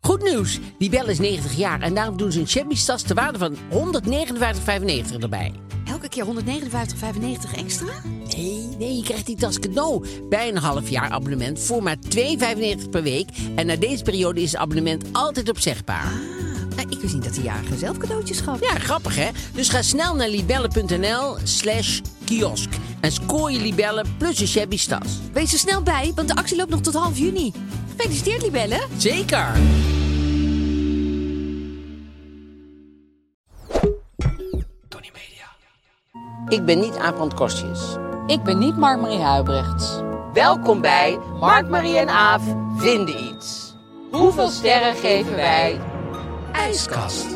Goed nieuws, die bel is 90 jaar en daarom doen ze een Chevy's tas te waarde van 159,95 erbij. Elke keer 159,95 extra? Nee, nee, je krijgt die tas cadeau bij een half jaar abonnement voor maar 2,95 per week. En na deze periode is het abonnement altijd opzegbaar. Nou, ik wist niet dat de jarige zelf cadeautjes gaf. Ja, grappig hè? Dus ga snel naar libellen.nl slash kiosk en scoor je libellen plus een Chevy's tas. Wees er snel bij, want de actie loopt nog tot half juni. Gefeliciteerd, Libelle. Zeker! Tony Media. Ik ben niet Abrand Kostjes. Ik ben niet Mark-Marie Huibrechts. Welkom bij Mark, Marie en Aaf vinden iets. Hoeveel sterren geven wij? IJskast.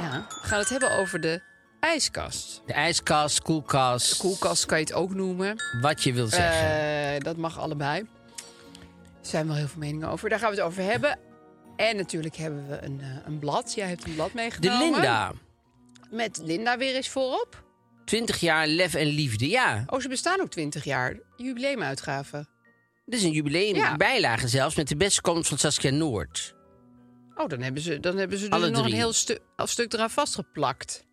Ja, we gaan het hebben over de ijskast. De ijskast, koelkast, Koelkast kan je het ook noemen. wat je wil zeggen. Eh, dat mag allebei. Er zijn wel heel veel meningen over. Daar gaan we het over hebben. En natuurlijk hebben we een, eh, een blad. Jij hebt een blad de nou, meegenomen. Linda. Met Linda weer eens voorop. 20 jaar lef en liefde. Ja, Oh, ze bestaan ook 20 jaar. Jubileumuitgave. dit is een jubileum. Ja. Bijlage zelfs met de beste komst van Saskia Noord. Oh, dan hebben ze, dan hebben ze Alle er nog een drie. heel stu- een stuk eraan vastgeplakt.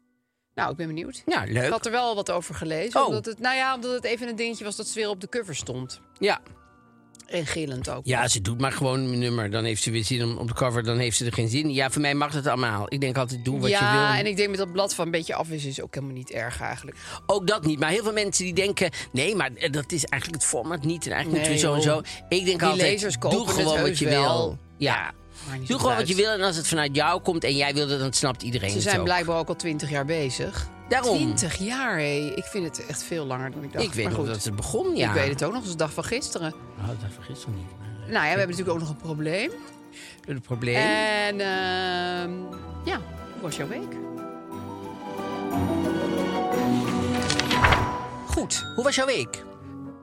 Nou, ik ben benieuwd. Ja, leuk. Ik had er wel wat over gelezen. Oh. Omdat het, nou ja, omdat het even een dingetje was dat ze weer op de cover stond. Ja. En gillend ook. ja, ze doet maar gewoon een nummer. Dan heeft ze weer zin om op de cover, dan heeft ze er geen zin in. Ja, voor mij mag het allemaal. Ik denk altijd, doe wat ja, je wil. en ik denk met dat blad van een beetje afwissen is ook helemaal niet erg eigenlijk. Ook dat niet. Maar heel veel mensen die denken... nee, maar eh, dat is eigenlijk het format niet. En eigenlijk Nee, moeten we zo en joh. zo. Ik denk Die altijd, lezers kopen doe het gewoon wat heus je wel. wil. Ja. maar niet Doe zoveel gewoon wat uit. je wil. En als het vanuit jou komt en jij wil het, dan snapt iedereen Ze het zijn ook. blijkbaar ook al 20 jaar bezig. Daarom. 20 jaar, hé. Ik vind het echt veel langer dan ik dacht. Ik weet maar nog goed, dat het begon, ja. Ik weet het ook nog, als de dag van gisteren. Oh, dat vergis ik niet. maar- eh, Nou ja, we hebben natuurlijk ook nog een probleem. Het probleem... En ehm, ja, hoe was jouw week? Goed. Hoe was jouw week?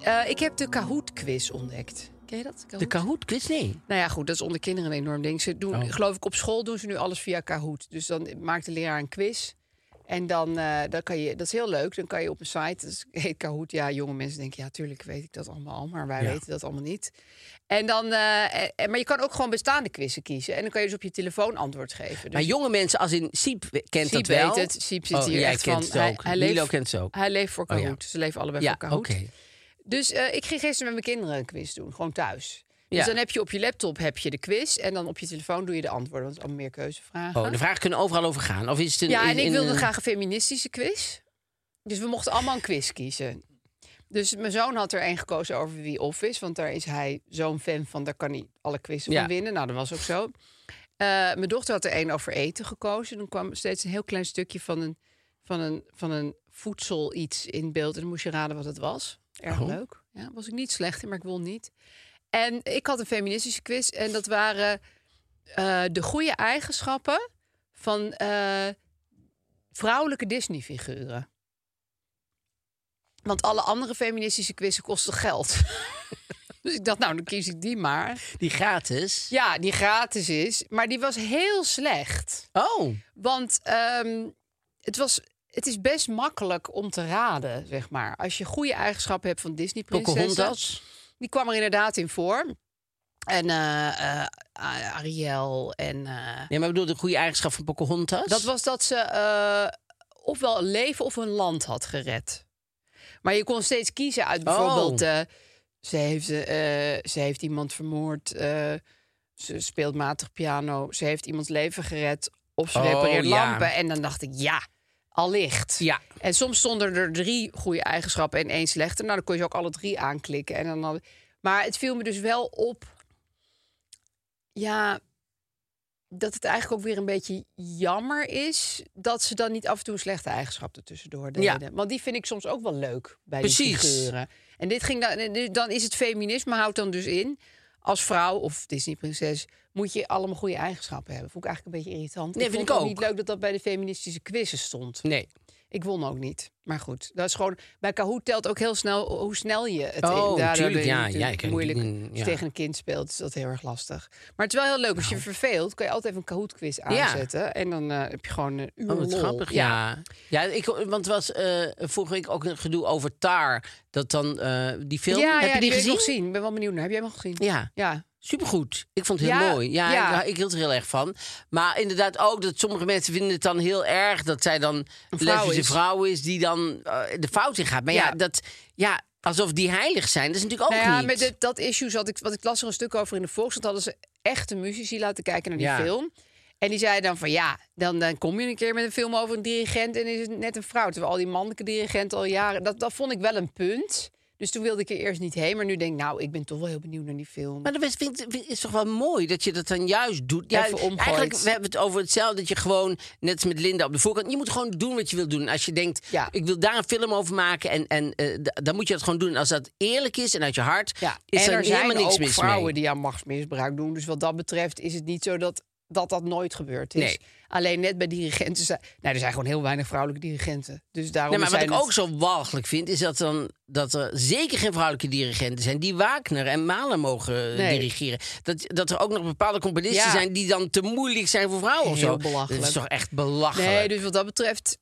Eh, ik heb de Kahoot-quiz ontdekt. Ken je dat? De Kahoot quiz? Nee. Nou ja, goed, dat is onder kinderen een enorm ding. Ze doen, Oh. geloof ik, op school doen ze nu alles via Kahoot. Dus dan maakt de leraar een quiz. En dan, eh, dan kan je, dat is heel leuk, dan kan je op een site, dat heet Kahoot. Ja, jonge mensen denken, ja, tuurlijk weet ik dat allemaal, al, maar wij Ja. weten dat allemaal niet. En dan, eh, eh, maar je kan ook gewoon bestaande quizzen kiezen. En dan kan je dus op je telefoon antwoord geven. Maar Dus jonge mensen, als in Siep kent dat Siep wel. weet het. Siep zit Oh, hier jij echt kent van. het Hij- ook. hij leeft- Milo kent het ook. hij leeft voor Oh ja. Kahoot. Ze leven allebei ja, voor oké. Kahoot. Dus eh, ik ging gisteren met mijn kinderen een quiz doen, gewoon thuis. Ja. Dus dan heb je op je laptop heb je de quiz en dan op je telefoon doe je de antwoorden, want het allemaal meer keuzevragen. Oh, de vragen kunnen overal over gaan. Of is het een, ja, en een- ik wilde een- graag een feministische quiz. Dus we mochten allemaal een quiz kiezen. Dus mijn zoon had er één gekozen over wie of is, want daar is hij zo'n fan van, daar kan hij alle quizzen Ja. van winnen. Nou, dat was ook zo. Eh, mijn dochter had er één over eten gekozen. Dan kwam steeds een heel klein stukje van een, van een, van een voedsel iets in beeld. En dan moest je raden wat het was. Erg Oh. leuk. Ja, was ik niet slecht in, maar ik wil niet. En ik had een feministische quiz. En dat waren eh, de goede eigenschappen van eh, vrouwelijke Disney-figuren. Want alle andere feministische quizzen kosten geld. dus ik dacht, nou, dan kies ik die maar. Die gratis. Ja, die gratis is. Maar die was heel slecht. Oh, Want ehm, het, was, het is best makkelijk om te raden, zeg maar. Als je goede eigenschappen hebt van Disney-prinsessen. Pocahontas. Die kwam er inderdaad in voor. En eh, eh, Ariel en... eh, Ja, maar ik bedoel, de goede eigenschap van Pocahontas. dat was dat ze eh, ofwel een leven of een land had gered. Maar je kon steeds kiezen uit Oh. bijvoorbeeld... eh, ze, heeft, eh, ze heeft iemand vermoord. eh, ze speelt matig piano. Ze heeft iemands leven gered. Of ze Oh, repareert ja. lampen. En dan dacht ik, ja, allicht. Ja. En soms stonden er drie goede eigenschappen en één slechte. Nou, dan kon je ze ook alle drie aanklikken. En dan had- Maar het viel me dus wel op. Ja, dat het eigenlijk ook weer een beetje jammer is dat ze dan niet af en toe een slechte eigenschap ertussendoor Ja. deden. Want die vind ik soms ook wel leuk bij die Precies. figuren. En dit ging dan, dan is het feminisme houdt dan dus in als vrouw of Disney-prinses moet je allemaal goede eigenschappen hebben. Vond ik eigenlijk een beetje irritant. Nee, vind vond ik het ook. niet leuk dat dat bij de feministische quizzen stond. Nee. Ik won ook niet. Maar goed, dat is gewoon. Bij Kahoot telt ook heel snel hoe snel je het. Oh, daardoor ben je tuurlijk, ja, natuurlijk ja, ik heb- moeilijk. mm, Als je ja. tegen een kind speelt, is dat heel erg lastig. Maar het is wel heel leuk. Als Nou. je verveelt, kan je altijd even een Kahoot quiz aanzetten. En dan eh, heb je gewoon een uur Oh, wat lol. grappig. Ja, ja ik, want het was eh vorige week ook een gedoe over Tar. Dat dan eh, die film. Ja, heb ja, je die, wil ik gezien? nog zien. Ik ben wel benieuwd naar. Heb jij hem al gezien? Ja, Ja. supergoed. Ik vond het heel Ja, mooi. Ja, ja. Ik, ik hield er heel erg van. Maar inderdaad ook dat sommige mensen vinden het dan heel erg dat zij dan een vrouw lesbische is. vrouw is die dan eh, de fout in gaat. Maar ja, Ja. dat, ja, alsof die heilig zijn, dat is natuurlijk ook nou ja, niet. met dit- dat issue zat ik, want ik las er een stuk over in de Volkskrant. Hadden ze echte muzici laten kijken naar die Ja. film. En die zeiden dan van ja, dan, dan kom je een keer met een film over een dirigent en is het net een vrouw. Terwijl al die mannelijke dirigenten al jaren. Dat, dat vond ik wel een punt. Dus toen wilde ik er eerst niet heen. Maar nu denk ik, nou, ik ben toch wel heel benieuwd naar die film. Maar dat is, vind, vind- is toch wel mooi dat je dat dan juist doet. Ja, Even omgooit. eigenlijk, we hebben het over hetzelfde. Dat je gewoon, net als met Linda op de voorkant... je moet gewoon doen wat je wil doen. Als je denkt, Ja. ik wil daar een film over maken... En, en, eh, d- dan moet je dat gewoon doen. Als dat eerlijk is en uit je hart... Ja, is en er, er zijn helemaal niks ook mis vrouwen mee. die aan machtsmisbruik doen. Dus wat dat betreft is het niet zo dat dat, dat nooit gebeurd is. Nee. Alleen net bij dirigenten... zijn- Nou, er zijn gewoon heel weinig vrouwelijke dirigenten. Dus daarom Nee, maar wat zijn ik het- ook zo walgelijk vind... is dat, dan, dat er zeker geen vrouwelijke dirigenten zijn... die Wagner en Mahler mogen eh, Nee. dirigeren. Dat, dat er ook nog bepaalde componisten Ja. zijn... die dan te moeilijk zijn voor vrouwen of Heel zo. belachelijk. Dat is toch echt belachelijk. Nee, dus wat dat betreft,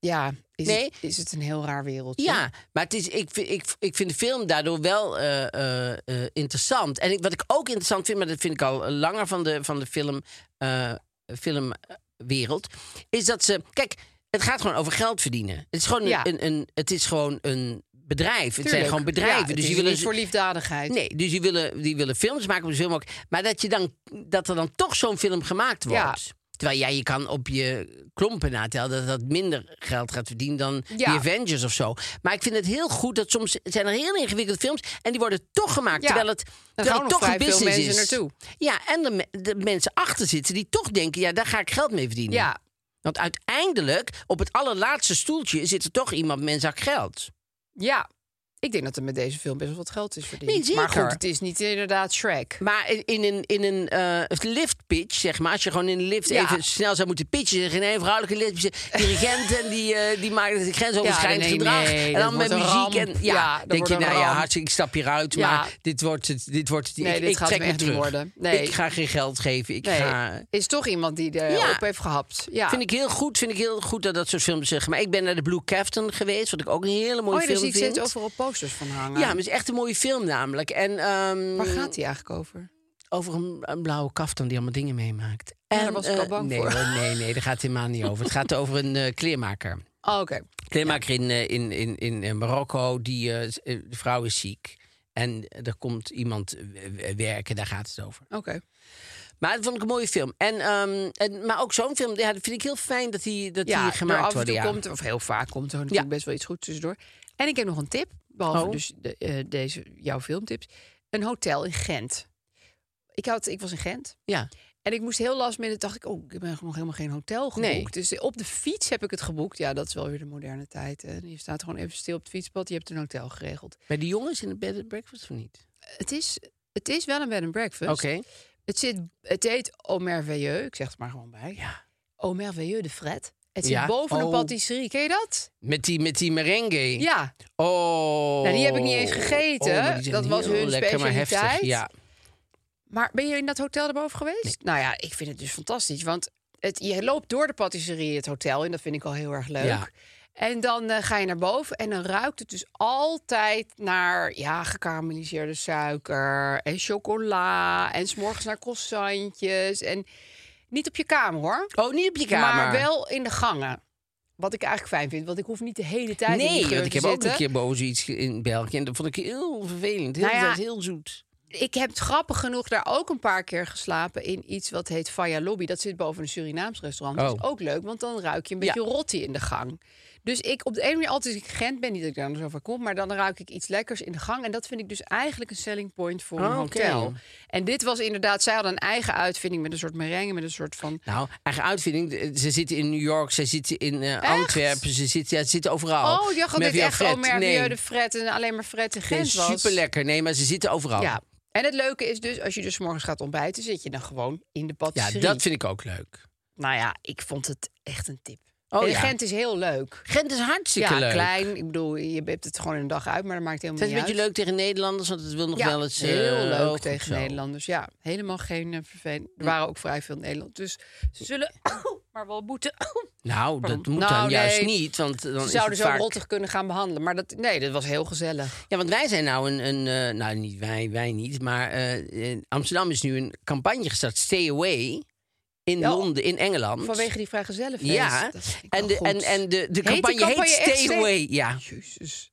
ja, is, Nee. het, is het een heel raar wereldje. Ja, maar het is, ik, vind- ik, ik vind de film daardoor wel eh, eh, eh, interessant. En ik, wat ik ook interessant vind, maar dat vind ik al langer van de, van de film, eh, filmwereld, is dat ze. Kijk, het gaat gewoon over geld verdienen. Het is gewoon een, Ja. een, een- het is gewoon een bedrijf. Het zijn Tuurlijk. gewoon Ja, bedrijven. het dus is die hier willen niet voor liefdadigheid. Nee, dus die willen, die willen films maken op zoveel mogelijk. Maar dat, je dan, dat er dan toch zo'n film gemaakt wordt. Ja. Terwijl jij je kan op je klompen natellen dat dat minder geld gaat verdienen dan Ja. die Avengers of zo. Maar ik vind het heel goed dat soms zijn er heel ingewikkelde films en die worden toch gemaakt. Ja. Terwijl het, Dan terwijl gaan het nog toch een vrij veel business mensen is. naartoe. Ja, en de, me- de mensen achter zitten die toch denken, ja, daar ga ik geld mee verdienen. Ja, Want uiteindelijk, op het allerlaatste stoeltje zit er toch iemand met een zak geld. ja. Ik denk dat er met deze film best wel wat geld is verdiend. Nee, zeker. Maar goed, het is niet inderdaad Shrek. Maar in- in een, in een eh, lift pitch, zeg maar, als je gewoon in een lift Ja. even snel zou moeten pitchen, zeggen nee, vrouwelijke lesbische dirigenten die, eh, die maken het grensoverschrijdend Ja, nee, gedrag. nee, en dat dan met wordt een muziek ramp. en ja, Ja, dat denk wordt je, een nou ja, ramp. hartstikke, ik stap hieruit, Ja. maar dit wordt het, dit wordt het, Nee, ik, dit ik gaat trek hem me echt niet terug. worden. Nee. Ik ga geen geld geven, ik Nee, ga... is toch iemand die erop Ja. op heeft gehapt. Ja. Vind ik heel goed, vind ik heel goed dat dat soort films zeggen. Maar ik ben naar de Blue Captain geweest, wat ik ook een hele mooie oh, ja, daar film zie ik vind. steeds overal posters van hangen. Ja, maar het is echt een mooie film namelijk. En, ehm, Waar gaat die eigenlijk over? over een, een blauwe kaftan die allemaal dingen meemaakt. Ja, daar was ik eh, al bang nee, voor. hoor, nee, nee, daar gaat het helemaal niet over. Het gaat over een eh, kleermaker. Oh, oké. Kleermaker in, eh, in, in, in, eh, Marokko, die, eh, z- eh, de vrouw is ziek. En er komt iemand eh, w- werken, daar gaat het over. Oké. Maar dat vond ik een mooie film. En, ehm, en, maar ook zo'n film, ja, dat vind ik heel fijn dat die, dat Ja, die er af gemaakt en worden. toe Ja. komt, er- of heel vaak komt er natuurlijk Ja. best wel iets goeds tussendoor. En ik heb nog een tip, behalve Oh. dus de, eh, deze, jouw filmtips. Een hotel in Gent. Ik, had, ik was in Gent. ja. En ik moest heel last minute, dacht ik, oh, ik ben nog helemaal geen hotel geboekt. Nee. Dus op de fiets heb ik het geboekt. Ja, dat is wel weer de moderne tijd. Hè. Je staat gewoon even stil op het fietspad, je hebt een hotel geregeld. Bij de jongens in de bed and breakfast of niet? Het is, het is wel een bed and breakfast. Oké. Het, zit, het heet Au Merveilleux, ik zeg het maar gewoon bij. Ja. Au Merveilleux de Fred. Het zit Ja, boven oh. een patisserie, ken je dat? Met die, met die merengue. Ja. Oh. Nou, die heb ik niet eens gegeten. maar die zijn Dat was heel hun lekker, maar heftig. specialiteit. Ja. Maar ben je in dat hotel erboven geweest? Nou ja, ik vind het dus fantastisch. Want het, je loopt door de patisserie het hotel in. Dat vind ik al heel erg leuk. Ja. En dan eh, ga je naar boven en dan ruikt het dus altijd naar ja, gekarameliseerde suiker en chocola en s'morgens naar croissantjes. En niet op je kamer hoor, Oh, niet op je kamer. maar wel in de gangen. Wat ik eigenlijk fijn vind, want ik hoef niet de hele tijd in die Nee, geur want ik te heb ook zitten. een keer boven zoiets ge- in België. En dat vond ik heel vervelend. Heel, Nou ja. dat is heel zoet. ik heb grappig genoeg daar ook een paar keer geslapen in iets wat heet Faya Lobby. Dat zit boven een Surinaams restaurant. Dat Oh. is ook leuk, want dan ruik je een beetje Ja. rotti in de gang. Dus ik op de ene manier altijd als ik Gent ben, niet dat ik daar nog zo van kom, maar dan ruik ik iets lekkers in de gang. En dat vind ik dus eigenlijk een selling point voor een Oh, oké. hotel. En dit was inderdaad, zij hadden een eigen uitvinding met een soort merengue, met een soort van... Nou, eigen uitvinding. eh, Ze zitten in New York, ze zitten in eh, Echt? Antwerpen, ze zitten, ja, ze zitten overal. Oh, ik dacht dat dit Merville echt Fred, al Mervieux nee. de Fred en alleen maar Fred en Nee, Gent was. super lekker. Nee, maar ze zitten overal. Ja. En het leuke is dus, als je dus 's morgens gaat ontbijten, zit je dan gewoon in de Ja, patisserie. dat vind ik ook leuk. Nou ja, ik vond het echt een tip. Oh, en ja. Gent is heel leuk. Gent is hartstikke ja, leuk. klein. Ik bedoel, je hebt het gewoon een dag uit, maar dat Het maakt helemaal is een niet beetje uit. leuk tegen Nederlanders, want het wil nog ja, wel eens... eh, heel leuk hoog tegen zo. Nederlanders. Ja, helemaal geen eh, vervelend. Hm. Er waren ook vrij veel Nederlanders. Dus ze zullen maar wel boeten. Nou, dat Pardon. moet Nou, dan juist nee. niet, want dan ze is zouden het zo vaak... rottig kunnen gaan behandelen. Maar dat, nee, dat was heel gezellig. Ja, want wij zijn nou een... een eh, nou, niet wij, wij niet, maar eh, eh, Amsterdam is nu een campagne gestart. Stay away in Ja, Londen, in Engeland. Vanwege die vrijgezellenfeest. Ja, Dat vind ik en wel de, goed. en, en de, de die campagne heet, campagne echt Stay Stay- Away. Ja. Jezus.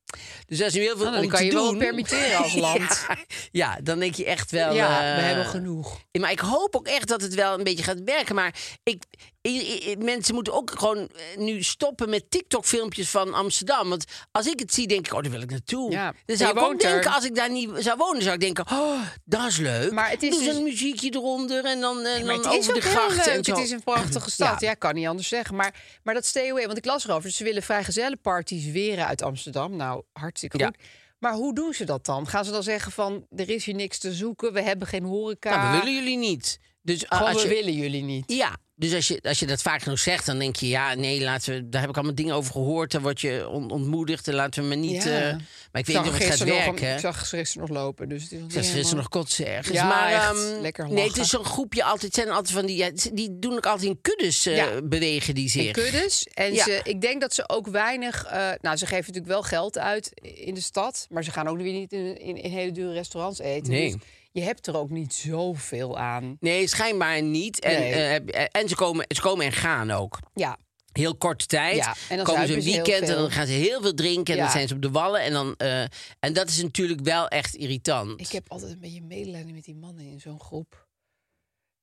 Dus daar is nu heel veel Nou, dan om kan te je wel doen. permitteren als land. ja, ja, dan denk je echt wel... ja, we eh, hebben genoeg. Maar ik hoop ook echt dat het wel een beetje gaat werken. Maar ik, i- i- mensen moeten ook gewoon eh, nu stoppen met TikTok-filmpjes van Amsterdam. Want als ik het zie, denk ik, oh, daar wil ik naartoe. Ja, Dan en zou je ik ook woont er. denken, als ik daar niet zou wonen, zou ik denken, oh, dat is leuk. Maar het is Doe zo'n dus- muziekje eronder en dan, en Maar dan het is over de ook heel grachten en leuk. zo. Het is een prachtige stad. Ja, kan niet anders zeggen. Maar, maar dat stay away. Want ik las erover. Ze willen vrijgezellenparties weren uit Amsterdam. Nou, hartstikke Ja. goed. Maar hoe doen ze dat dan? Gaan ze dan zeggen van... er is hier niks te zoeken, we hebben geen horeca. Ah, Nou, we willen jullie niet. Dus eh, Gewoon, als we je, willen jullie niet. Ja, dus als je, als je dat vaak genoeg zegt, dan denk je, ja, nee, laten we, daar heb ik allemaal dingen over gehoord. Dan word je on- ontmoedigd en laten we me niet. Ja. eh, maar ik weet zag niet of het gaat gisteren nog- werken. Ik zag gisteren nog lopen, dus het is nog Ik zag niet gisteren nog helemaal- kotsen ergens. Ja, maar, echt. ehm, Lekker Nee, het lachen. is zo'n groepje altijd. zijn altijd van die. ja, die doen ook altijd in kuddes eh, Ja. bewegen die zich. En kuddes. En Ja. ze, ik denk dat ze ook weinig... eh, nou, ze geven natuurlijk wel geld uit in de stad. Maar ze gaan ook weer niet in, in, in hele dure restaurants eten. Nee. Dus je hebt er ook niet zoveel aan. Nee, schijnbaar niet. En, Nee. eh, heb- eh, en ze, komen, ze komen en gaan ook. Ja, Heel korte tijd. Ja, en dan komen ze een zuipen ze heel weekend en dan veel. gaan ze heel veel drinken. En Ja. dan zijn ze op de wallen. En, dan, eh, en dat is natuurlijk wel echt irritant. ik heb altijd een beetje medelijden met die mannen in zo'n groep.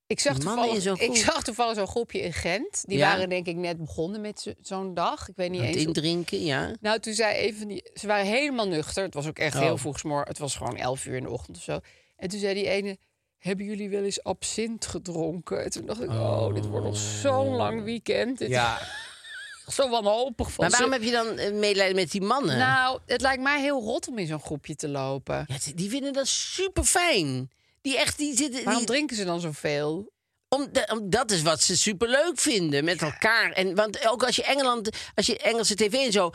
Ik zag, Die mannen toevallig, in zo'n ik groep? zag toevallig zo'n groepje in Gent. Die Ja? waren denk ik net begonnen met zo- zo'n dag. Ik weet niet Aan het eens. of- indrinken, ja. Nou, toen zei even die... Ze waren helemaal nuchter. Het was ook echt Oh. heel vroeg 's mor. Het was gewoon elf uur in de ochtend of zo. En toen zei die ene... Hebben jullie wel eens absint gedronken? En toen dacht ik, oh, dit wordt nog Oh. zo'n lang weekend. Dit is zo wanhopig van Maar waarom ze. heb je dan eh, medelijden met die mannen? Nou, het lijkt mij heel rot om in zo'n groepje te lopen. Ja, die vinden dat super fijn. Die echt, die zitten. Waarom Die, drinken ze dan zoveel? om, de- om- dat is wat ze super leuk vinden met elkaar. En, want ook als je Engeland, als je Engelse tv en zo.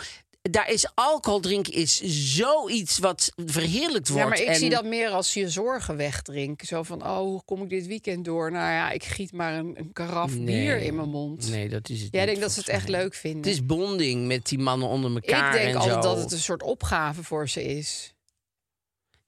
Daar is alcohol drinken is zoiets wat verheerlijkt wordt. Ja, maar ik en, zie dat meer als je zorgen wegdrinken. Zo van, oh, hoe kom ik dit weekend door? Nou ja, ik giet maar een, een karaf Nee. bier in mijn mond. Nee, dat is het. Jij niet, denkt dat ze het volgens echt mij. leuk vinden. Het is bonding met die mannen onder elkaar. ik denk en altijd zo. dat het een soort opgave voor ze is.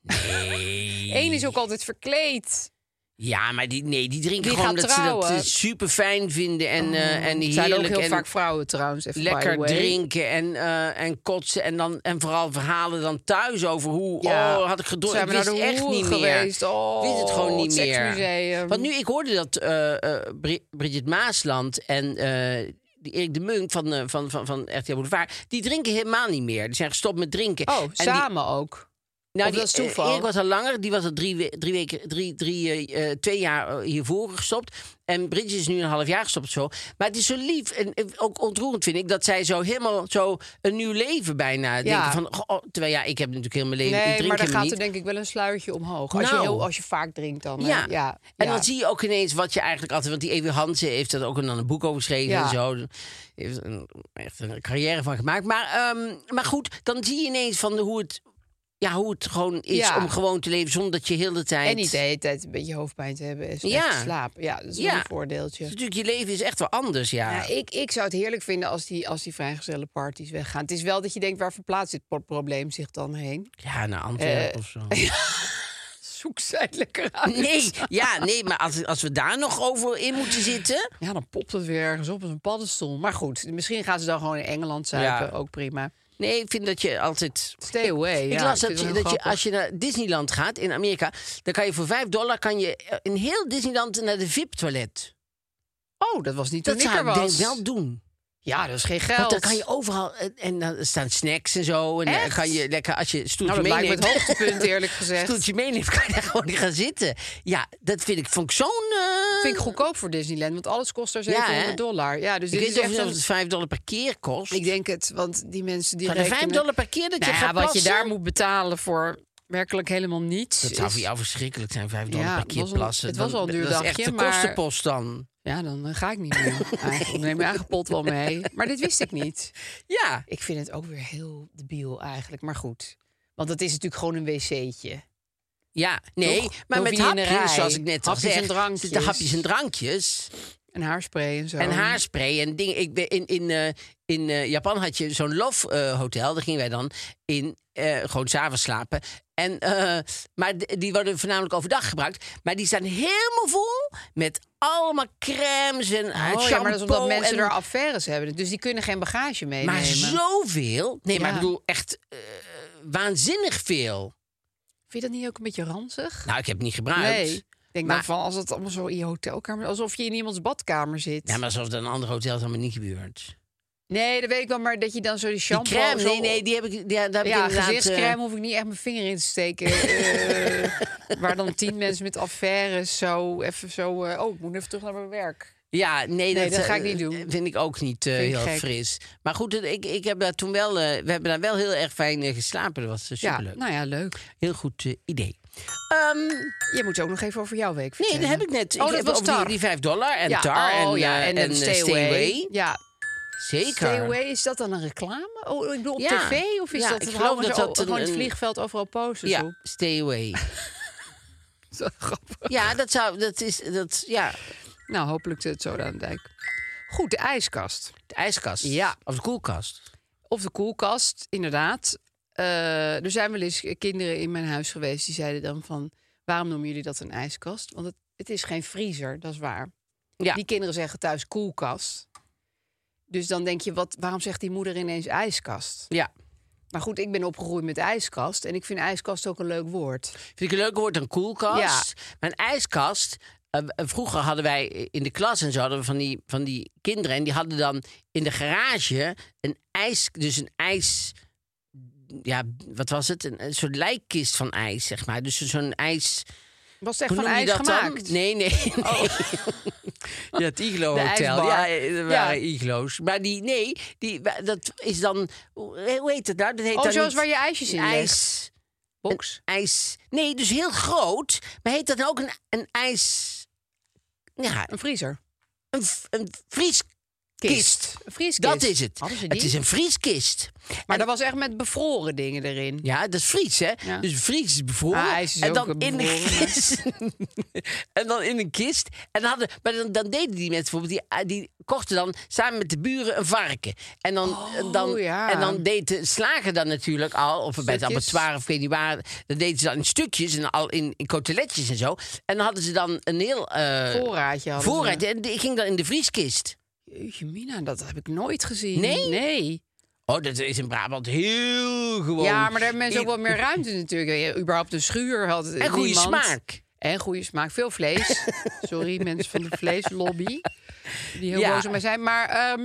Nee. Eén is ook altijd verkleed. Ja, maar die, nee, die drinken Die gewoon gaat dat ze trouwen. dat super fijn vinden en, eh, en Het heerlijk. zijn ook heel en, vaak vrouwen trouwens. Even by lekker the way. drinken en, eh, en kotsen. En, dan, en vooral verhalen dan thuis over hoe... Ja. Oh, had ik gedronken. Zijn Ik we wist naar de het echt hoeren niet geweest? meer. Oh, wist het gewoon niet het meer. seksmuseum. Want nu, ik hoorde dat eh eh, Bri- Bridget Maasland en... eh, die Erik de Munk van, eh, van, van, van RTL Boulevard... die drinken helemaal niet meer. Die zijn gestopt met drinken. Oh, En die- samen ook. nou, Of dat is die- eh, toeval? Erik was al langer. Die was al drie, we- drie weken, drie, drie, eh, eh, twee jaar eh, hiervoor gestopt. En Bridget is nu een half jaar gestopt of zo. Maar het is zo lief en eh, ook ontroerend vind ik... dat zij zo helemaal zo een nieuw leven bijna denken van... goh, oh, terwijl ja, ik heb natuurlijk heel mijn leven... ik Nee, drink maar dan helemaal gaat niet. er denk ik wel een sluiertje omhoog. Als, Nou. je, heel, als je vaak drinkt dan. hè? Ja. ja. En ja. dan zie je ook ineens wat je eigenlijk altijd... Want die Ewe Hansen heeft dat ook een, een boek over geschreven Ja. en zo. Dus Heeft een, echt een carrière van gemaakt. Maar, ehm, maar goed, dan zie je ineens van hoe het... Ja, hoe het gewoon is Ja. om gewoon te leven zonder dat je heel de tijd... En niet de hele tijd een beetje hoofdpijn te hebben en Ja. slecht te slapen. Ja, dat is wel Ja. een voordeeltje. Dus natuurlijk, je leven is echt wel anders, ja. Ja, ik, ik zou het heerlijk vinden als die, als die vrijgezellen parties weggaan. Het is wel dat je denkt, waar verplaatst dit pro- probleem zich dan heen? Ja, naar Antwerpen Eh. of zo. Zoek zij lekker uit. Nee, ja, nee, maar als, als we daar nog over in moeten zitten... Ja, dan popt het weer ergens op als een paddenstoel. Maar goed, misschien gaan ze dan gewoon in Engeland zuipen. Ja. Ook prima. Nee, ik vind dat je altijd... Stay away. Ik las dat, je- dat je, als je naar Disneyland gaat in Amerika... dan kan je voor 5 dollar kan je eh, in heel Disneyland naar de VIP-toilet. Oh, dat was niet toen Dat ik zou er ik was. denk wel doen. Ja, dat is geen geld. Want dan kan je overal... En, en dan staan snacks en zo. En dan Echt? kan je lekker, als je stoeltje nou, dat lijkt me meeneemt... het hoogtepunt, eerlijk gezegd. stoeltje meeneemt, kan je daar gewoon in gaan zitten. Ja, dat vind ik, vond ik zo'n... eh, vind ik goedkoop voor Disneyland, want alles kost daar Ja, hè? 700 dollar. Ja, dus Ik dit weet is niet of echt het- of een... het 5 dollar per keer kost. Ik denk het, want die mensen die Van de 5 rekenen- dollar per keer dat je Nou ja, gaat wat je plassen? daar moet betalen voor werkelijk helemaal niets. Dat zou is- voor jou verschrikkelijk zijn, 5 dollar Ja, per het keer was al- plassen. het was Dan- al een duur Dat is echt dagje, de maar- kostenpost dan. Ja, dan eh, ga ik niet meer. Eigenlijk, dan neem mijn eigen pot wel mee. Maar dit wist ik niet. Ja. Ik vind het ook weer heel debiel eigenlijk, maar goed. Want het is natuurlijk gewoon een wc'tje. Ja, nee, Toch? maar Dan met hoef je in een hapjes, rij. zoals ik net al Hapjes zei. en drankjes. zitten hapjes en drankjes. En haarspray en zo. En haarspray en dingen. Ik ben in in, eh, in eh, Japan had je zo'n love eh, hotel. Daar gingen wij dan in eh, gewoon s'avonds slapen. En, eh, maar d- die worden voornamelijk overdag gebruikt. Maar die staan helemaal vol met allemaal crèmes en eh, Oh, shampoo. ja, maar dat is omdat mensen en, daar affaires hebben. Dus die kunnen geen bagage meenemen. Maar zoveel. Nee, maar ik Ja. bedoel echt eh, waanzinnig veel. Vind je dat niet ook een beetje ranzig? Nou, ik heb het niet gebruikt. nee. Ik denk Maar- maar van als het allemaal zo in je hotelkamer... Alsof je in iemands badkamer zit. Ja, maar alsof dat in andere hotels helemaal niet gebeurt. Nee, dat weet ik wel. Maar dat je dan zo die Die shampoo... crème, zo- nee, nee, die heb ik, die, daar heb ik Ja, inderdaad, eh, gezichtscrème hoef ik niet echt mijn vinger in te steken. Eh, waar dan tien mensen met affaires zo even zo... eh, oh, ik moet even terug naar mijn werk. Ja, nee, Nee, dat ga ik eh, niet doen. Vind ik ook niet eh, Vind ik heel gek. fris. Maar goed, het- ik, ik heb daar toen wel, eh, we hebben daar wel heel erg fijn eh, geslapen. Dat was eh, Ja, superleuk. nou ja, leuk. Heel goed eh, idee. Ehm, Je moet ook nog even over jouw week nee, vertellen. dat heb ik net. Oh, ik dat heb was over die- tar. Die 5 dollar en Ja, tar en, oh, ja, eh, en, en, eh, stay, away. Ja, Zeker. stay away, is dat dan een reclame? Oh, ik bedoel, op Ja. tv? Of is Ja, dat, ik het geloof gewoon dat zo- dat een- gewoon het een- vliegveld overal posters Ja, op? stay away. Zo grappig. ja, dat zou, dat is, dat, ja, Nou, hopelijk zit het zo aan de dijk. Goed, de ijskast. de ijskast. Ja. Of de koelkast. Of de koelkast, inderdaad. Eh, er zijn wel eens kinderen in mijn huis geweest die zeiden dan van... waarom noemen jullie dat een ijskast? Want het, het is geen vriezer, dat is waar. Ja. Die kinderen zeggen thuis koelkast. Dus dan denk je, wat, waarom zegt die moeder ineens ijskast? Ja. Maar goed, ik ben opgegroeid met ijskast. En ik vind ijskast ook een leuk woord. Vind ik een leuk woord, een koelkast. Maar een ijskast. eh, eh, vroeger hadden wij in de klas en zo hadden we van die, van die kinderen. En die hadden dan in de garage een ijs. Dus een ijs. Ja, wat was het? Een, een soort lijkkist van ijs, zeg maar. Dus zo'n ijs. Was het echt Hoe van noem je ijs dat dan? gemaakt? Oh. Nee, nee. nee. ja, het Iglo De Hotel. ijsbar. Ja, eh, er waren Ja. Iglo's. Maar die, nee, die, wa- dat is dan. Hoe hoe heet het nou? Dat heet Oh, dan zoals niet- waar je ijsjes in Een legt. ijs. Box? Een ijs. Nee, dus heel groot. Maar heet dat nou ook een, een ijs. Ja, Een vriezer. een, v- een vrieskist. Een vrieskist. Dat is het. Hadden ze die? Het is een vrieskist. Maar dat was echt met bevroren dingen erin. Ja, dat is Fries, hè? Ja. Dus Fries is bevroren. Ah, ijs is en ook dan in een bevroren, maar- kist. en dan in een kist. En dan hadden, maar dan, dan deden die mensen bijvoorbeeld, die, eh, die kochten dan samen met de buren een varken. En dan, eh, dan, Oh, ja. en dan deed de slager dan natuurlijk al, of bij het Stukjes. abattoir of ik weet niet waar, dan deden ze dan in stukjes en al in, in koteletjes en zo. En dan hadden ze dan een heel eh, Voorraadje hadden ze. voorraad. En die ging dan in de vrieskist. Jeetje mina, dat heb ik nooit gezien. Nee? Nee. Oh, dat is in Brabant heel gewoon. Ja, maar daar hebben mensen ook I- wel meer ruimte natuurlijk. Ja, überhaupt een schuur had En goede niemand. smaak. En goede smaak. Veel vlees. Sorry, mensen van de vleeslobby. Die heel Ja. boos op mij zijn. Maar ehm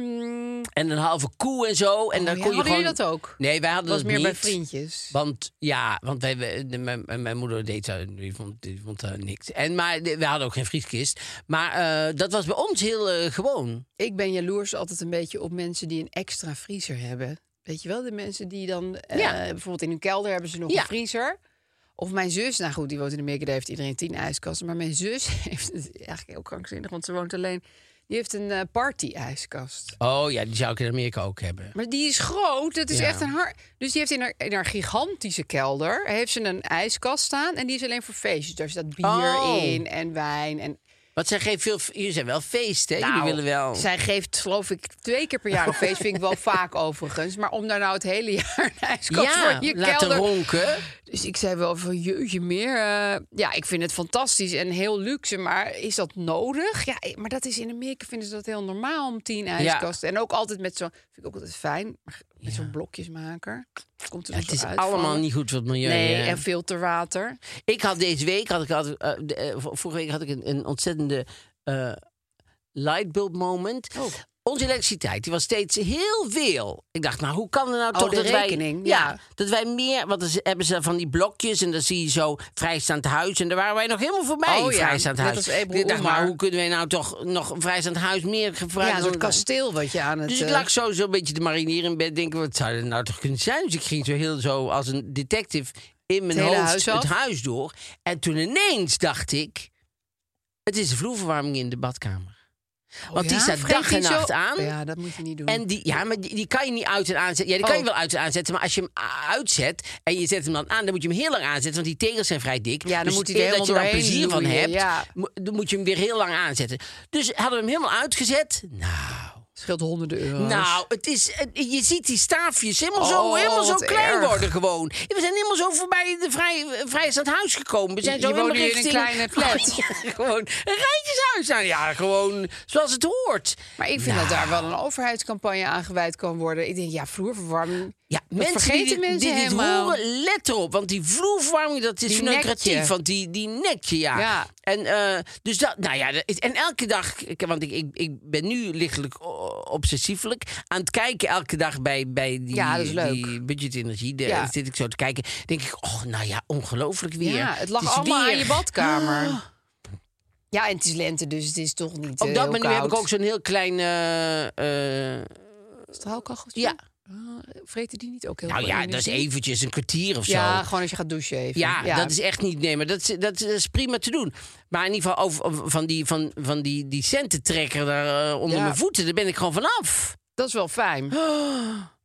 En een halve koe en zo. En Oh, dan kon je ja, hadden gewoon... jullie dat ook? Nee, wij hadden was dat meer bij niet. vriendjes. Want ja, want wij, wij- de- mijn, mijn- mijn moeder deed dat, die vond, die vond daar niks. En, maar de- we hadden ook geen vrieskist. Maar eh, dat was bij ons heel eh, gewoon. Ik ben jaloers altijd een beetje op mensen die een extra vriezer hebben. Weet je wel, de mensen die dan eh, Ja. bijvoorbeeld in hun kelder hebben ze nog Ja. een vriezer. Of mijn zus, nou goed, die woont in Amerika, daar heeft iedereen tien ijskasten. Maar mijn zus heeft, het is eigenlijk heel krankzinnig, want ze woont alleen. Die heeft een eh, party-ijskast. Oh ja, die zou ik in Amerika ook hebben. Maar die is groot, dat is Ja. echt een hard... Dus die heeft in haar, in haar gigantische kelder, heeft ze een ijskast staan. En die is alleen voor feestjes. Dus Daar staat bier Oh. in en wijn en Want zij geeft veel... Jullie zijn wel feesten, hè? Jullie nou, willen wel... Zij geeft, geloof ik, twee keer per jaar een feest. Vind ik wel vaak overigens. Maar om daar nou het hele jaar een ijskast ja, voor je laten kelder... ronken. Dus ik zei wel van, jeetje meer. eh, ja, ik vind het fantastisch en heel luxe. Maar is dat nodig? Ja, eh, maar dat is in Amerika vinden ze dat heel normaal om tien ijskasten. En ook altijd met zo'n... Vind ik ook altijd fijn. maar Met zo'n blokjesmaker. Komt er Ja, nog het zo is uit allemaal van. niet goed voor het milieu. Nee, hè? en filterwater. Ik had deze week, had ik, had, eh, Oh. de- eh, v- vorige week had ik een, een ontzettende eh lightbulb moment. onze elektriciteit, die was steeds heel veel. Ik dacht, nou, hoe kan er nou Oh, toch de dat rekening, wij... Ja, ja. dat wij meer... Want dan z- hebben ze van die blokjes en dan zie je zo vrijstaand huis. En daar waren wij nog helemaal voorbij, Oh ja, vrijstaand net huis. als Ebru ik dacht, Umar. maar hoe kunnen wij nou toch nog een vrijstaand huis meer gebruiken? Ja, dan een soort kasteel wat je aan het... dus ik eh, lag zo zo'n beetje te marineren in bed. Denken, wat zou dat nou toch kunnen zijn? Dus ik ging zo heel zo als een detective in mijn Het hele hoofd huis af? het huis door. En toen ineens dacht ik... Het is de vloerverwarming in de badkamer. Want die oh ja? staat Vreet dag en die zo- nacht aan. Ja, dat moet je niet doen. En die, ja, maar die, die kan je niet uit en aanzetten. Ja, die kan Mm. Oh. je wel uit en aanzetten. Maar als je hem a- uitzet en je zet hem dan aan, dan moet je hem heel lang aanzetten. Want die tegels zijn vrij dik. Ja, dan dus moet hij er eer dat je helemaal daar plezier doorheen van loeien, hebt, ja. mo- dan moet je hem weer heel lang aanzetten. Dus hadden we hem helemaal uitgezet. Nou. scheelt honderden euro's. Nou, het is, eh, je ziet die staafjes helemaal zo, Oh, helemaal zo wat klein erg. worden gewoon. We zijn helemaal zo voorbij de vrij, vrijstaand huis gekomen. We zijn Je- zo je woont helemaal nu in een richting... kleine flat. Oh, ja, gewoon een rijtjeshuis. Nou ja, gewoon zoals het hoort. Maar ik vind dat daar wel een overheidscampagne aan gewijd kan worden. Ik denk, ja, vloerverwarming. Ja, dat mensen vergeten die, dit- mensen die dit helemaal. horen, let erop. Want die vloerverwarming, dat is Die lucratief. nekje. Want die, die nekje, ja. Ja. En, eh, dus dat, nou ja, dat is- en elke dag, ik- want ik, ik, ik ben nu lichtelijk o- obsessiefelijk aan het kijken elke dag bij, bij die, Ja, dat is leuk. die budget energie. Daar Ja. zit ik zo te kijken. denk ik, oh, nou ja, ongelooflijk weer. Ja, het lag is allemaal weer- Ah. aan je badkamer. Ja, en het is lente, dus het is toch niet Op eh, dat heel manier heb ik koud. ook zo'n heel klein... eh, eh, Straalkacheltje? ja, Ah, Vreten die niet ook heel nou veel ja, energie? dat is eventjes een kwartier of zo. Ja, gewoon als je gaat douchen even. Ja, dat is echt niet. Nee, maar dat is, dat is prima te doen. Maar in ieder geval over, over- van die, van, van die, die cententrekker daar eh, onder Ja. mijn voeten, daar ben ik gewoon vanaf. Oh. dat is wel fijn.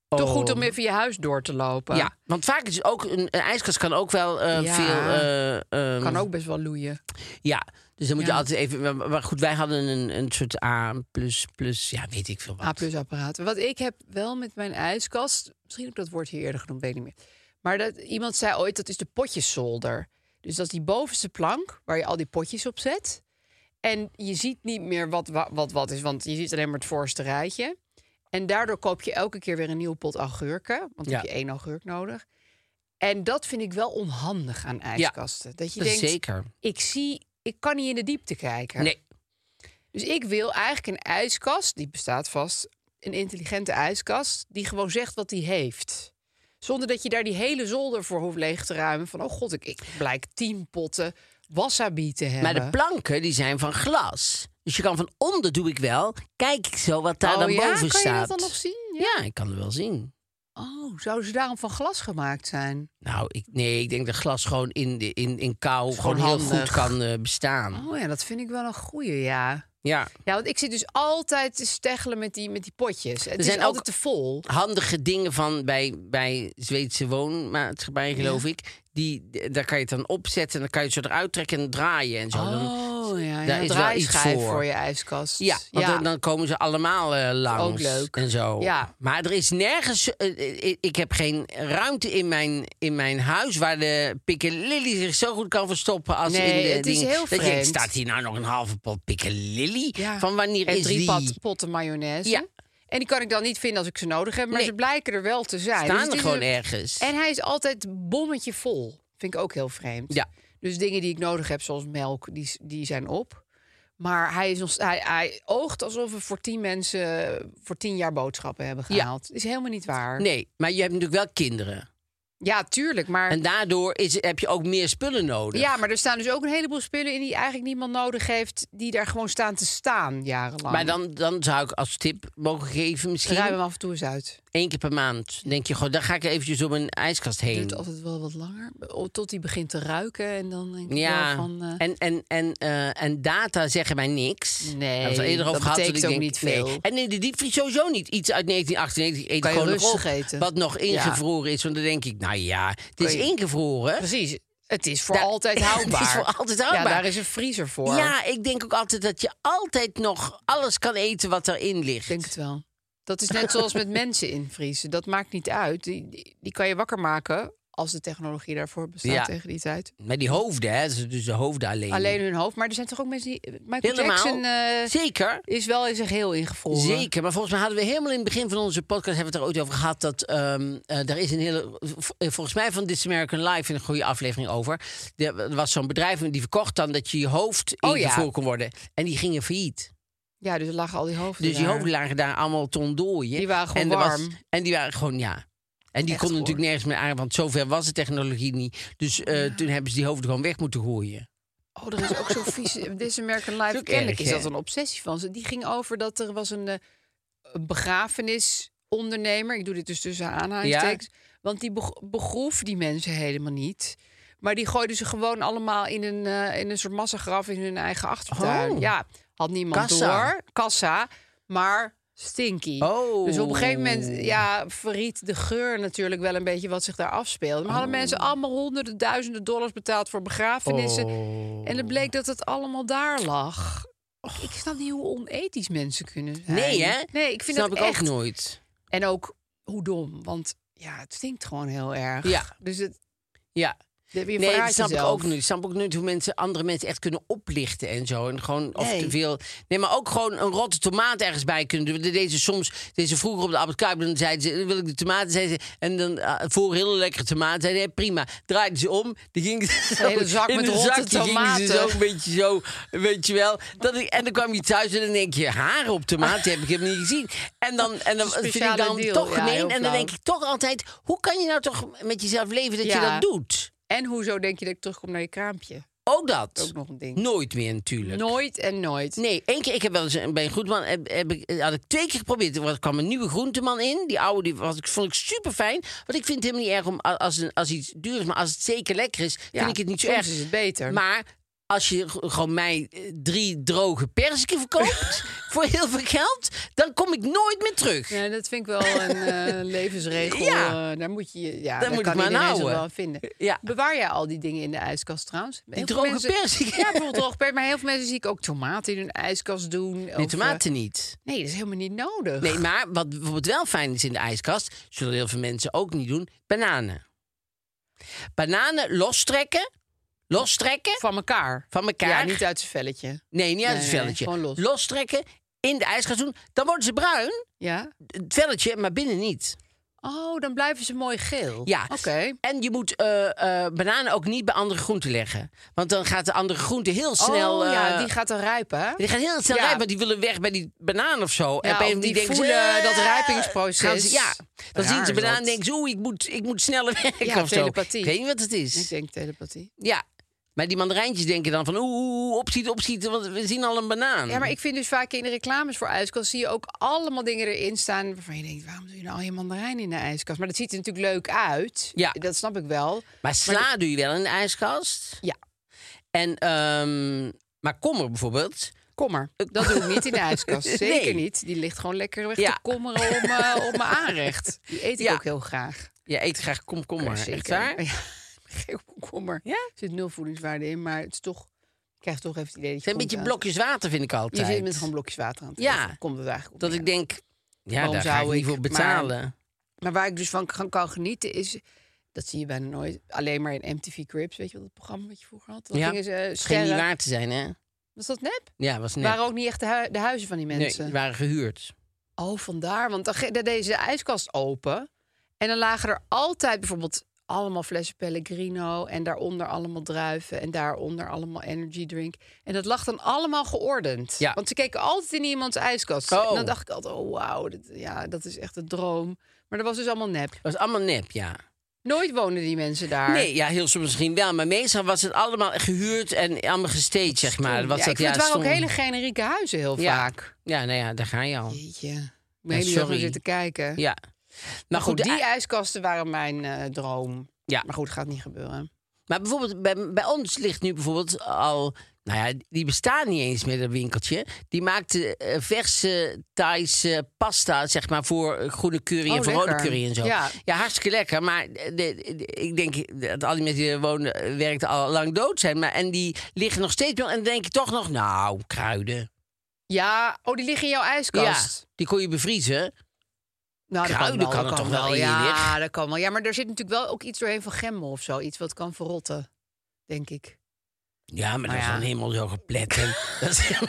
Toch goed om even je huis door te lopen. Ja, want vaak is het ook een, een ijskast kan ook wel eh, Ja. veel. eh, ehm, Kan ook best wel loeien. Ja, dus dan moet je Ja. altijd even. Maar, maar goed, wij hadden een, een soort A plus plus. Ja, weet ik veel wat. A-plus apparaat. Wat ik heb wel met mijn ijskast... Misschien heb ik dat woord hier eerder genoemd, weet ik niet meer. Maar dat, iemand zei ooit, dat is de potjeszolder. Dus dat is die bovenste plank waar je al die potjes op zet. En je ziet niet meer wat wa- wat, wat is, want je ziet alleen maar het voorste rijtje. En daardoor koop je elke keer weer een nieuwe pot augurken. Want dan Ja. heb je één augurk nodig. En dat vind ik wel onhandig aan ijskasten. Dat je Dat is denkt, zeker. ik zie... Ik kan niet in de diepte kijken. Nee. Dus ik wil eigenlijk een ijskast, die bestaat vast, een intelligente ijskast, die gewoon zegt wat die heeft. Zonder dat je daar die hele zolder voor hoeft leeg te ruimen. Van, oh god, ik, ik blijk tien potten wasabi te hebben. Maar de planken die zijn van glas. Dus je kan van onder doe ik wel. Kijk ik zo wat daar oh, dan ja? boven staat. Kan je dat dan nog zien? Ja. ja, ik kan het wel zien. Oh, zouden ze daarom van glas gemaakt zijn? Nou, ik, nee, ik denk dat glas gewoon in, de- in, in kou Is gewoon gewoon, heel goed handig. kan eh, bestaan. Oh ja, dat vind ik wel een goeie, ja. Ja, Ja, want ik zit dus altijd te steggelen met die, met die potjes. Het Er is zijn ook- altijd te vol. handige dingen van bij, bij Zweedse woonmaatschappijen, geloof ik. Die, d- daar kan je het dan opzetten en dan kan je het zo eruit trekken en draaien en zo. Dan, Oh ja, daar is ja een wel draaischijf iets voor. voor. je ijskast. ja, want Dan, dan komen ze allemaal eh, langs. Ook leuk. En zo. Ja. Maar er is nergens... eh, eh, ik- ik heb geen ruimte in mijn, in mijn huis waar de pikkelilly zich zo goed kan verstoppen als Nee, in de het is dingen. heel Dat je denkt, vreemd. staat hier nou nog een halve pot pikkelilly? Ja. Van wanneer en is drie die? pat- potten mayonaise. Ja. En die kan ik dan niet vinden als ik ze nodig heb. Maar Nee. ze blijken er wel te zijn. Dus staan het er is gewoon een- ergens. En hij is altijd bommetje vol. Vind ik ook heel vreemd. Ja. Dus dingen die ik nodig heb, zoals melk, die, s- die zijn op. Maar hij, is nog, s- hij, hij oogt alsof we voor tien mensen voor tien jaar boodschappen hebben Ja. gehaald. Is helemaal niet waar. Nee, maar je hebt natuurlijk wel kinderen. Ja, tuurlijk. Maar, En daardoor is, heb je ook meer spullen nodig. ja, maar er staan dus ook een heleboel spullen in die eigenlijk niemand nodig heeft. Die daar gewoon staan te staan jarenlang. Maar dan, dan zou ik als tip mogen geven, ruim hem misschien af en toe eens uit. één keer per maand. Denk je, goh, dan ga ik eventjes om een ijskast heen. duurt altijd wel wat langer. o- Tot hij begint te ruiken en dan denk ik Ja, wel van... eh, en, en, en, eh, en data zeggen mij niks. Nee, Hebben we het eerder dat over gehad, dus betekent ik ook denk, niet veel. nee. En in de diepvries sowieso niet. Iets uit 1998 eet Kan ik je gewoon nog op, rustig eten. wat nog ingevroren is. Want dan denk ik, nou ja, het is je- ingevroren. precies, het is voor Daar- altijd Het is houdbaar. voor altijd houdbaar. Ja, daar is een vriezer voor. Ja, ik denk ook altijd dat je altijd nog alles kan eten wat erin ligt. Ik denk het wel. Dat is net zoals met mensen invriezen. Dat maakt niet uit. Die, die, die kan je wakker maken als de technologie daarvoor bestaat Ja. tegen die tijd. Met die hoofden, hè? Dus- Dus de hoofden alleen. Alleen hun hoofd. Maar er zijn toch ook mensen die... Michael Helemaal. Jackson eh, Zeker. is wel in zijn geheel ingevroren. Zeker, maar volgens mij hadden we helemaal in het begin van onze podcast... hebben we het er ooit over gehad dat... ehm eh, daar is een hele... v- eh, Volgens mij van This American Life een goede aflevering over. Er was zo'n bedrijf en die verkocht dan dat je je hoofd Oh ja. ingevoerd kon worden. En die gingen failliet. Ja, dus er lagen al die hoofden Dus die daar. hoofden lagen daar allemaal tondooien. Die waren gewoon en er was- warm. en die waren gewoon, ja. En die Echt konden hoor. natuurlijk nergens meer aan, want zover was de technologie niet. Dus eh, toen hebben ze die hoofden gewoon weg moeten gooien. Oh, dat is ook zo vies. This American Is Life, ook kennelijk erg, is hè? dat een obsessie van ze. Die ging over dat er was een eh, begrafenisondernemer. Ik doe dit dus tussen aanhalingstekens. Want die beg- begroef die mensen helemaal niet. Maar die gooiden ze gewoon allemaal in een, eh, in een soort massagraf in hun eigen achtertuin. Oh. Ja, had niemand Kassa. door. Kassa. Maar stinky. Oh. Dus op een gegeven moment ja, verriet de geur natuurlijk wel een beetje wat zich daar afspeelde. Maar Oh. hadden mensen allemaal honderden, duizenden dollars betaald voor begrafenissen. Oh. En het bleek dat het allemaal daar lag. Ik snap niet hoe onethisch mensen kunnen zijn. Nee, hè? Nee, ik vind Snap dat ik echt... ook nooit. En ook hoe dom, want ja, het stinkt gewoon heel erg. Ja. Dus het... Ja. Je Nee, verraadt dat snap ik jezelf. ook niet. Ik snap ook niet hoe mensen andere mensen echt kunnen oplichten en zo. En gewoon, of Nee. te veel. Nee, maar ook gewoon een rotte tomaat ergens bij kunnen doen. Dat deden ze soms, deze vroeger op de Albert Kuip, dan zeiden ze, wil ik de tomaten? Zeiden ze, en dan ah, voor hele lekkere tomaten. Zeiden ze, "Ja, prima. Draaiden ze om. Die ging Een hele zak met rotte Gingen ze tomaten. zo een beetje zo, weet je wel. Dat ik, en dan kwam je thuis en dan denk je, haren op tomaten die heb ik helemaal niet gezien. En dan, en dan Dat is een vind ik dan speciale deal. toch Ja, heel gemeen. en dan flauw. denk ik toch altijd, hoe kan je nou toch met jezelf leven dat je Ja. dat doet? En hoezo denk je dat ik terugkom naar je kraampje? Ook dat. Ook nog een ding. Nooit meer natuurlijk. Nooit en nooit. Nee, één keer, ik heb wel eens een- bij een goedman, heb, heb ik, had ik twee keer geprobeerd. Er kwam een nieuwe groenteman in. Die oude die was, ik- vond ik super fijn. Want ik vind het helemaal niet erg om a- als, een, als iets duur is, maar als het zeker lekker is, vind ik het niet zo soms erg. is het beter. Maar als je g- gewoon mij eh, drie droge perziken verkoopt voor heel veel geld, dan kom ik nooit meer terug. Ja, dat vind ik wel een eh, levensregel. Ja. Eh, daar moet je, je- ja, Daar daar moet kan ik me aan iedereen zich houden. wel aan vinden. Ja. Bewaar jij al die dingen in de ijskast trouwens? Heel veel droge mensen- perziken. Ja, bijvoorbeeld droge perziken. Maar heel veel mensen zie ik ook tomaten in hun ijskast doen. of, Nee, eh, tomaten niet. nee, dat is helemaal niet nodig. Nee, maar wat bijvoorbeeld wel fijn is in de ijskast, zullen heel veel mensen ook niet doen, bananen. Bananen lostrekken, lostrekken Van elkaar. van elkaar. Ja, niet uit zijn velletje. nee, niet uit Nee, het nee, velletje. gewoon los. Lostrekken, in de ijskast doen, dan worden ze bruin, Ja? het velletje, maar binnen niet. Oh, dan blijven ze mooi geel. Ja. Oké. En je moet eh, eh, bananen ook niet bij andere groenten leggen. Want dan gaat de andere groente heel snel... oh, ja, eh, die gaat dan rijpen. hè? Die gaan heel snel Ja. rijpen, want die willen weg bij die banaan of zo. Ja, op een of of die denken voelen eh, dat rijpingsproces. gaan ze- ja, dan Raar zien ze is banaan dat. en denken ze, oeh, ik moet, ik moet sneller weg Ja, of zo. telepathie. Ik weet niet wat het Ik is. denk telepathie. Ja, maar die mandarijntjes denken dan van, oeh, oeh, oeh, opschieten, opschieten, want we zien al een banaan. Ja, maar ik vind dus vaak in de reclames voor ijskast zie je ook allemaal dingen erin staan waarvan je denkt, waarom doe je nou al je mandarijn in de ijskast? Maar dat ziet er natuurlijk leuk uit. Ja. Dat snap ik wel. Maar sla doe je wel in de ijskast. Ja. En, ehm, maar kommer bijvoorbeeld. Kom maar. Dat doe ik niet in de ijskast. Nee. Zeker niet. Die ligt gewoon lekker weg Ja. te kommeren om, eh, op mijn aanrecht. Die eet ik Ja. ook heel graag. Ja, eet graag komkommer, echt waar? Ja, geen komkommer. Ja? Er zit nul voedingswaarde in, maar het is toch... Ik krijg toch even het idee dat Het je zijn een beetje komt aan- blokjes water, vind ik Je altijd. zit met gewoon blokjes water aan het Ja. eten. Komt het eigenlijk op Dat neer. ik denk, ja, Waarom daar ga ik zou niet ik? voor Maar- betalen. Maar waar ik dus van kan, kan genieten is... Dat zie je bijna nooit. Alleen maar in MTV Cribs, weet je wel, dat programma wat je vroeger had? Dat Ja. gingen ze eh, Het scheen niet sterren. waar te zijn, hè? Was dat nep? Ja, was net. Waren ook niet echt de, hui- de huizen van die Nee, mensen. die waren gehuurd. Oh, vandaar. Want dan, ge- dan deden ze de ijskast open. En dan lagen er altijd bijvoorbeeld allemaal flessen Pellegrino. En daaronder allemaal druiven. En daaronder allemaal energy drink. En dat lag dan allemaal geordend. Ja. Want ze keken altijd in iemands ijskast. Oh. En dan dacht ik altijd, oh wauw, dit- ja, dat is echt een droom. Maar dat was dus allemaal nep. Dat was allemaal nep, ja. Nooit woonden die mensen daar. Nee, ja, heel soms misschien wel. Maar meestal was het allemaal gehuurd en allemaal gestaged, zeg maar. Ja, Wat ik dat, vind het waren ook stom. hele generieke huizen heel Ja. vaak. Ja, nou ja, daar ga je al. Jeetje. Ik ben heel erg sorry. naar zitten kijken. Ja. Maar Maar goed, goed, die de- ijskasten waren mijn eh, droom. Ja. Maar goed, gaat niet gebeuren. maar bijvoorbeeld bij, bij ons ligt nu bijvoorbeeld al... Nou ja, die bestaan niet eens meer, dat winkeltje. Die maakte eh, verse Thaise pasta, zeg maar, voor eh, groene curry en Oh, voor rode lekker. curry en zo. Ja. hartstikke lekker. Maar eh, de- de- ik denk dat al die mensen die er wonen, eh, werkten al lang dood zijn. Maar, en die liggen nog steeds wel. En dan denk je toch nog, nou, kruiden. Ja, oh, die liggen in jouw ijskast. Ja, die kon je bevriezen. Nou, dat Kruiden kan, wel, kan dat er kan toch wel in Ja, liggen? dat kan wel. Ja, maar er zit natuurlijk wel ook iets doorheen van gemmel of zo. Iets wat kan verrotten, denk ik. Ja, maar dat is ja. dan helemaal zo geplet. hè. Dat is-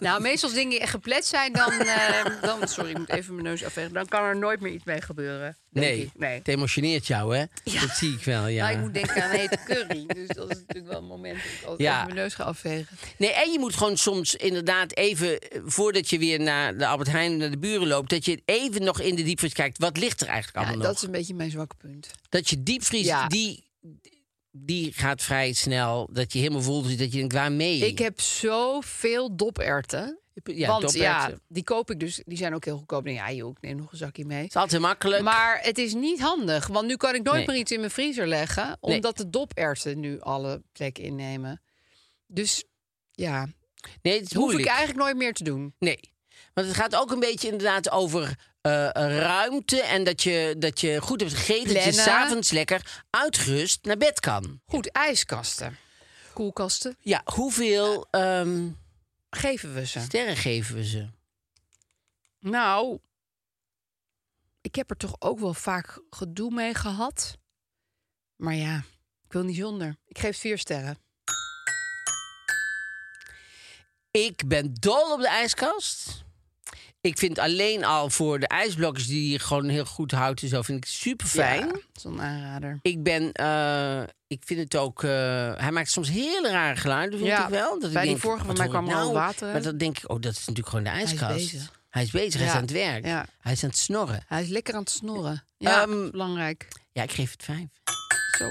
Nou, meestal als dingen geplet zijn, dan, eh, dan... Sorry, ik moet even mijn neus afvegen. Dan kan er nooit meer iets mee gebeuren. denk nee, ik. nee. het emotioneert jou, hè? Dat zie ik wel, ja. Nou, ik moet denken aan hete curry. Dus dat is natuurlijk wel een moment dat ik altijd Ja. even mijn neus ga afvegen. Nee, en je moet gewoon soms inderdaad even... eh, voordat je weer naar de Albert Heijn naar de buren loopt... dat je even nog in de diepvries kijkt. Wat ligt er eigenlijk Ja, allemaal dat nog? is een beetje mijn zwakke punt. Dat je diepvries, Ja. die, die gaat vrij snel. Dat je helemaal voelt dat je denkt, waarmee? Ik heb zoveel doperten. Ja, want doperwten. ja, die koop ik dus. Die zijn ook heel goedkoop. Ik denk, ja joh, ik neem nog een zakje mee. Het is altijd makkelijk. Maar het is niet handig. Want nu kan ik nooit Nee. meer iets in mijn vriezer leggen. Nee. Omdat de doperten nu alle plek innemen. Dus ja, nee, het is dat hoef ik moeilijk. eigenlijk nooit meer te doen. Nee. Want het gaat ook een beetje inderdaad over eh, ruimte. En dat je, dat je goed hebt gegeten. Dat je Plannen. s'avonds lekker uitgerust naar bed kan. Goed, ijskasten. Koelkasten. Ja, hoeveel ehm, Geven we ze. sterren geven we ze? Nou, ik heb er toch ook wel vaak gedoe mee gehad. Maar ja, ik wil niet zonder. Ik geef het vier sterren. Ik ben dol op de ijskast. Ik vind alleen al voor de ijsblokjes die je gewoon heel goed houdt en zo, vind ik super fijn. Ja, dat is een aanrader. Ik ben, eh, ik vind het ook. eh, hij maakt soms hele rare geluiden, vind Ja, ik wel. Dat ik bij die denk, vorige wat van mij hoor ik kwam er al nou? water uit. Maar dan denk ik, oh, dat is natuurlijk gewoon de is ijskast. bezig. Hij is bezig, hij is Ja, aan het werk. ja. Hij is aan het snorren. Hij is lekker aan het snorren. Ja, Ehm, belangrijk. Ja, ik geef het vijf. Zo.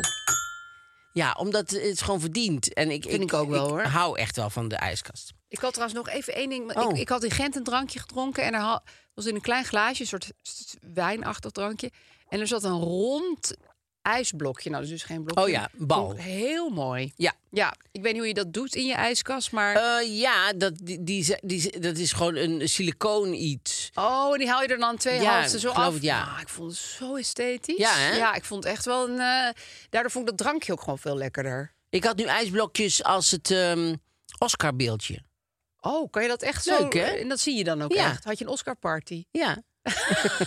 Ja, omdat het is gewoon verdiend. En ik, Vind ik ook wel, hoor. hou echt wel van de ijskast. Ik had trouwens nog even één ding. want Oh. Ik, ik had in Gent een drankje gedronken. En er ha- was in een klein glaasje, een soort s- wijnachtig drankje. En er zat een rond ijsblokje. Nou, dat is dus geen blokje. Oh ja, bal. Vond ik Heel mooi. Ja. Ja, ik weet niet hoe je dat doet in je ijskast, maar... Eh, ja, dat, die, die, die- dat is gewoon een silicoon iets. Oh, en die haal je er dan twee Ja, halften zo ik geloof af. het, ja. Ah, ik vond het zo esthetisch. Ja, hè? ik vond het echt wel een... eh, daardoor vond ik dat drankje ook gewoon veel lekkerder. Ik had nu ijsblokjes als het ehm, Oscar-beeldje. Oh, kan je dat echt Leuk, zo... hè? En dat zie je dan ook Ja. echt. Had je een Oscar-party? Ja.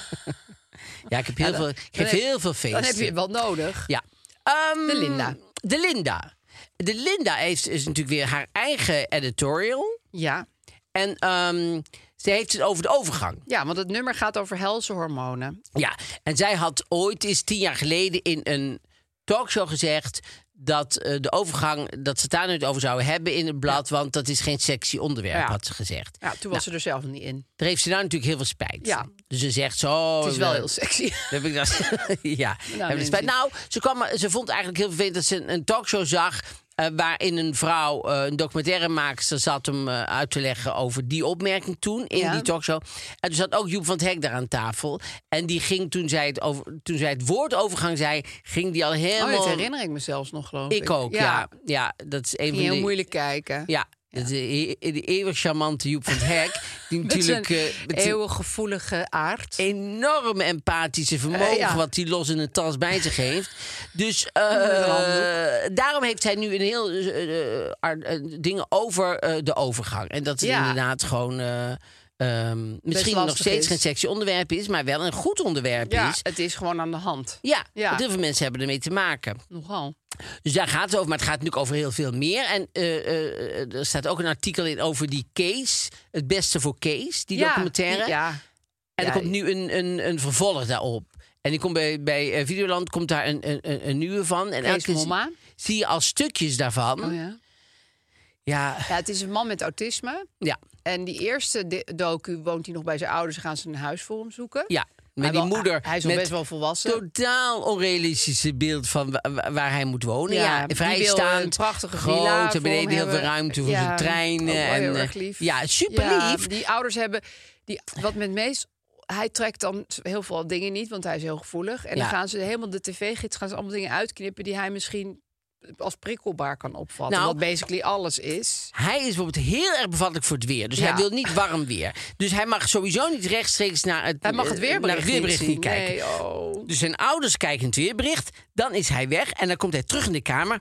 ja, ik, heb heel Ja, dan- veel, ik geef heb- heel veel feesten. Dan heb je het wel nodig. Ja. Ehm, De Linda. De Linda. De Linda heeft is natuurlijk weer haar eigen editorial. Ja. En ehm, ze heeft het over de overgang. ja, want het nummer gaat over helse hormonen. Ja, en zij had ooit eens tien jaar geleden in een talkshow gezegd dat eh, de overgang, dat ze het daar nooit over zouden hebben in het blad, want dat is geen sexy onderwerp, Ja. had ze gezegd. Ja, toen was ze er zelf niet in. Daar heeft ze nou natuurlijk heel veel spijt. Ja. Dus ze zegt zo. Het is wel eh, heel sexy. Oh, Heb ik dat? ja. Nou, mensen. spijt. nou ze, kwam, er- ze vond eigenlijk heel vervelend dat ze een, een talkshow zag. eh, waarin een vrouw, eh, een documentairemaakster, zat hem eh, uit te leggen over die opmerking toen in Ja. die talkshow. En toen zat ook Joep van het Hek daar aan tafel. En die ging toen zij het, over, toen zij het woord overgang zei, ging die al Oh, helemaal. dat herinner ik me zelfs nog, geloof ik. ik ook, ja. ja. dat is een Ging van heel die- moeilijk kijken. Ja, dat is de, e- de eeuwig charmante Joep van het Hek. Die Met zijn natuurlijk. eh, met zijn- eeuwig gevoelige aard. enorme empathische vermogen... Eh, ja. wat hij los in een tas bij zich heeft. Dus eh, handdoek. daarom heeft hij nu een heel eh, eh, ar- eh, dingen over eh, de overgang. En dat is Ja. inderdaad gewoon... eh, ehm, misschien nog lastig steeds is. geen sexy onderwerp is... maar wel een goed onderwerp Ja, is. het is gewoon aan de hand. Ja, Ja. want heel veel mensen hebben ermee te maken. Nogal. Dus daar gaat het over, maar het gaat natuurlijk over heel veel meer. En eh, eh, eh, er staat ook een artikel in over die Kees. Het beste voor Kees, die documentaire. Ja. En er Ja, komt nu een, een, een vervolg daarop. En die komt bij, bij eh, Videoland komt daar een, een, een, een nieuwe van. En elke Kees keer zie- Momma. zie je al stukjes daarvan. Oh, ja. ja. ja, het is een man met autisme. ja, En die eerste di- docu woont hij nog bij zijn ouders. Gaan ze een huis voor hem zoeken. ja. Met Hij die wel- moeder. Hij is al met best wel volwassen. totaal onrealistische beeld van wa- wa- waar, hij moet wonen. Nou Ja, Ja, die wil vrijstaand, een prachtige villa groot, en voor beneden hem heel veel hebben. ruimte voor Ja, zijn treinen. ook wel en, heel eh, erg lief. Ja, super Ja, lief. die ouders hebben... Die, wat met meest... Hij trekt dan heel veel dingen niet, want hij is heel gevoelig. En Ja. dan gaan ze helemaal de tv-gids... gaan ze allemaal dingen uitknippen die hij misschien als prikkelbaar kan opvatten. Nou. wat basically alles is. Hij is bijvoorbeeld heel erg bevattelijk voor het weer. Dus hij Ja. wil niet warm weer. Dus hij mag sowieso niet rechtstreeks naar het, Hij mag het eh, weerbericht, naar het weerbericht niet zien. kijken. Nee, oh. Dus zijn ouders kijken het weerbericht. Dan is hij weg en dan komt hij terug in de kamer.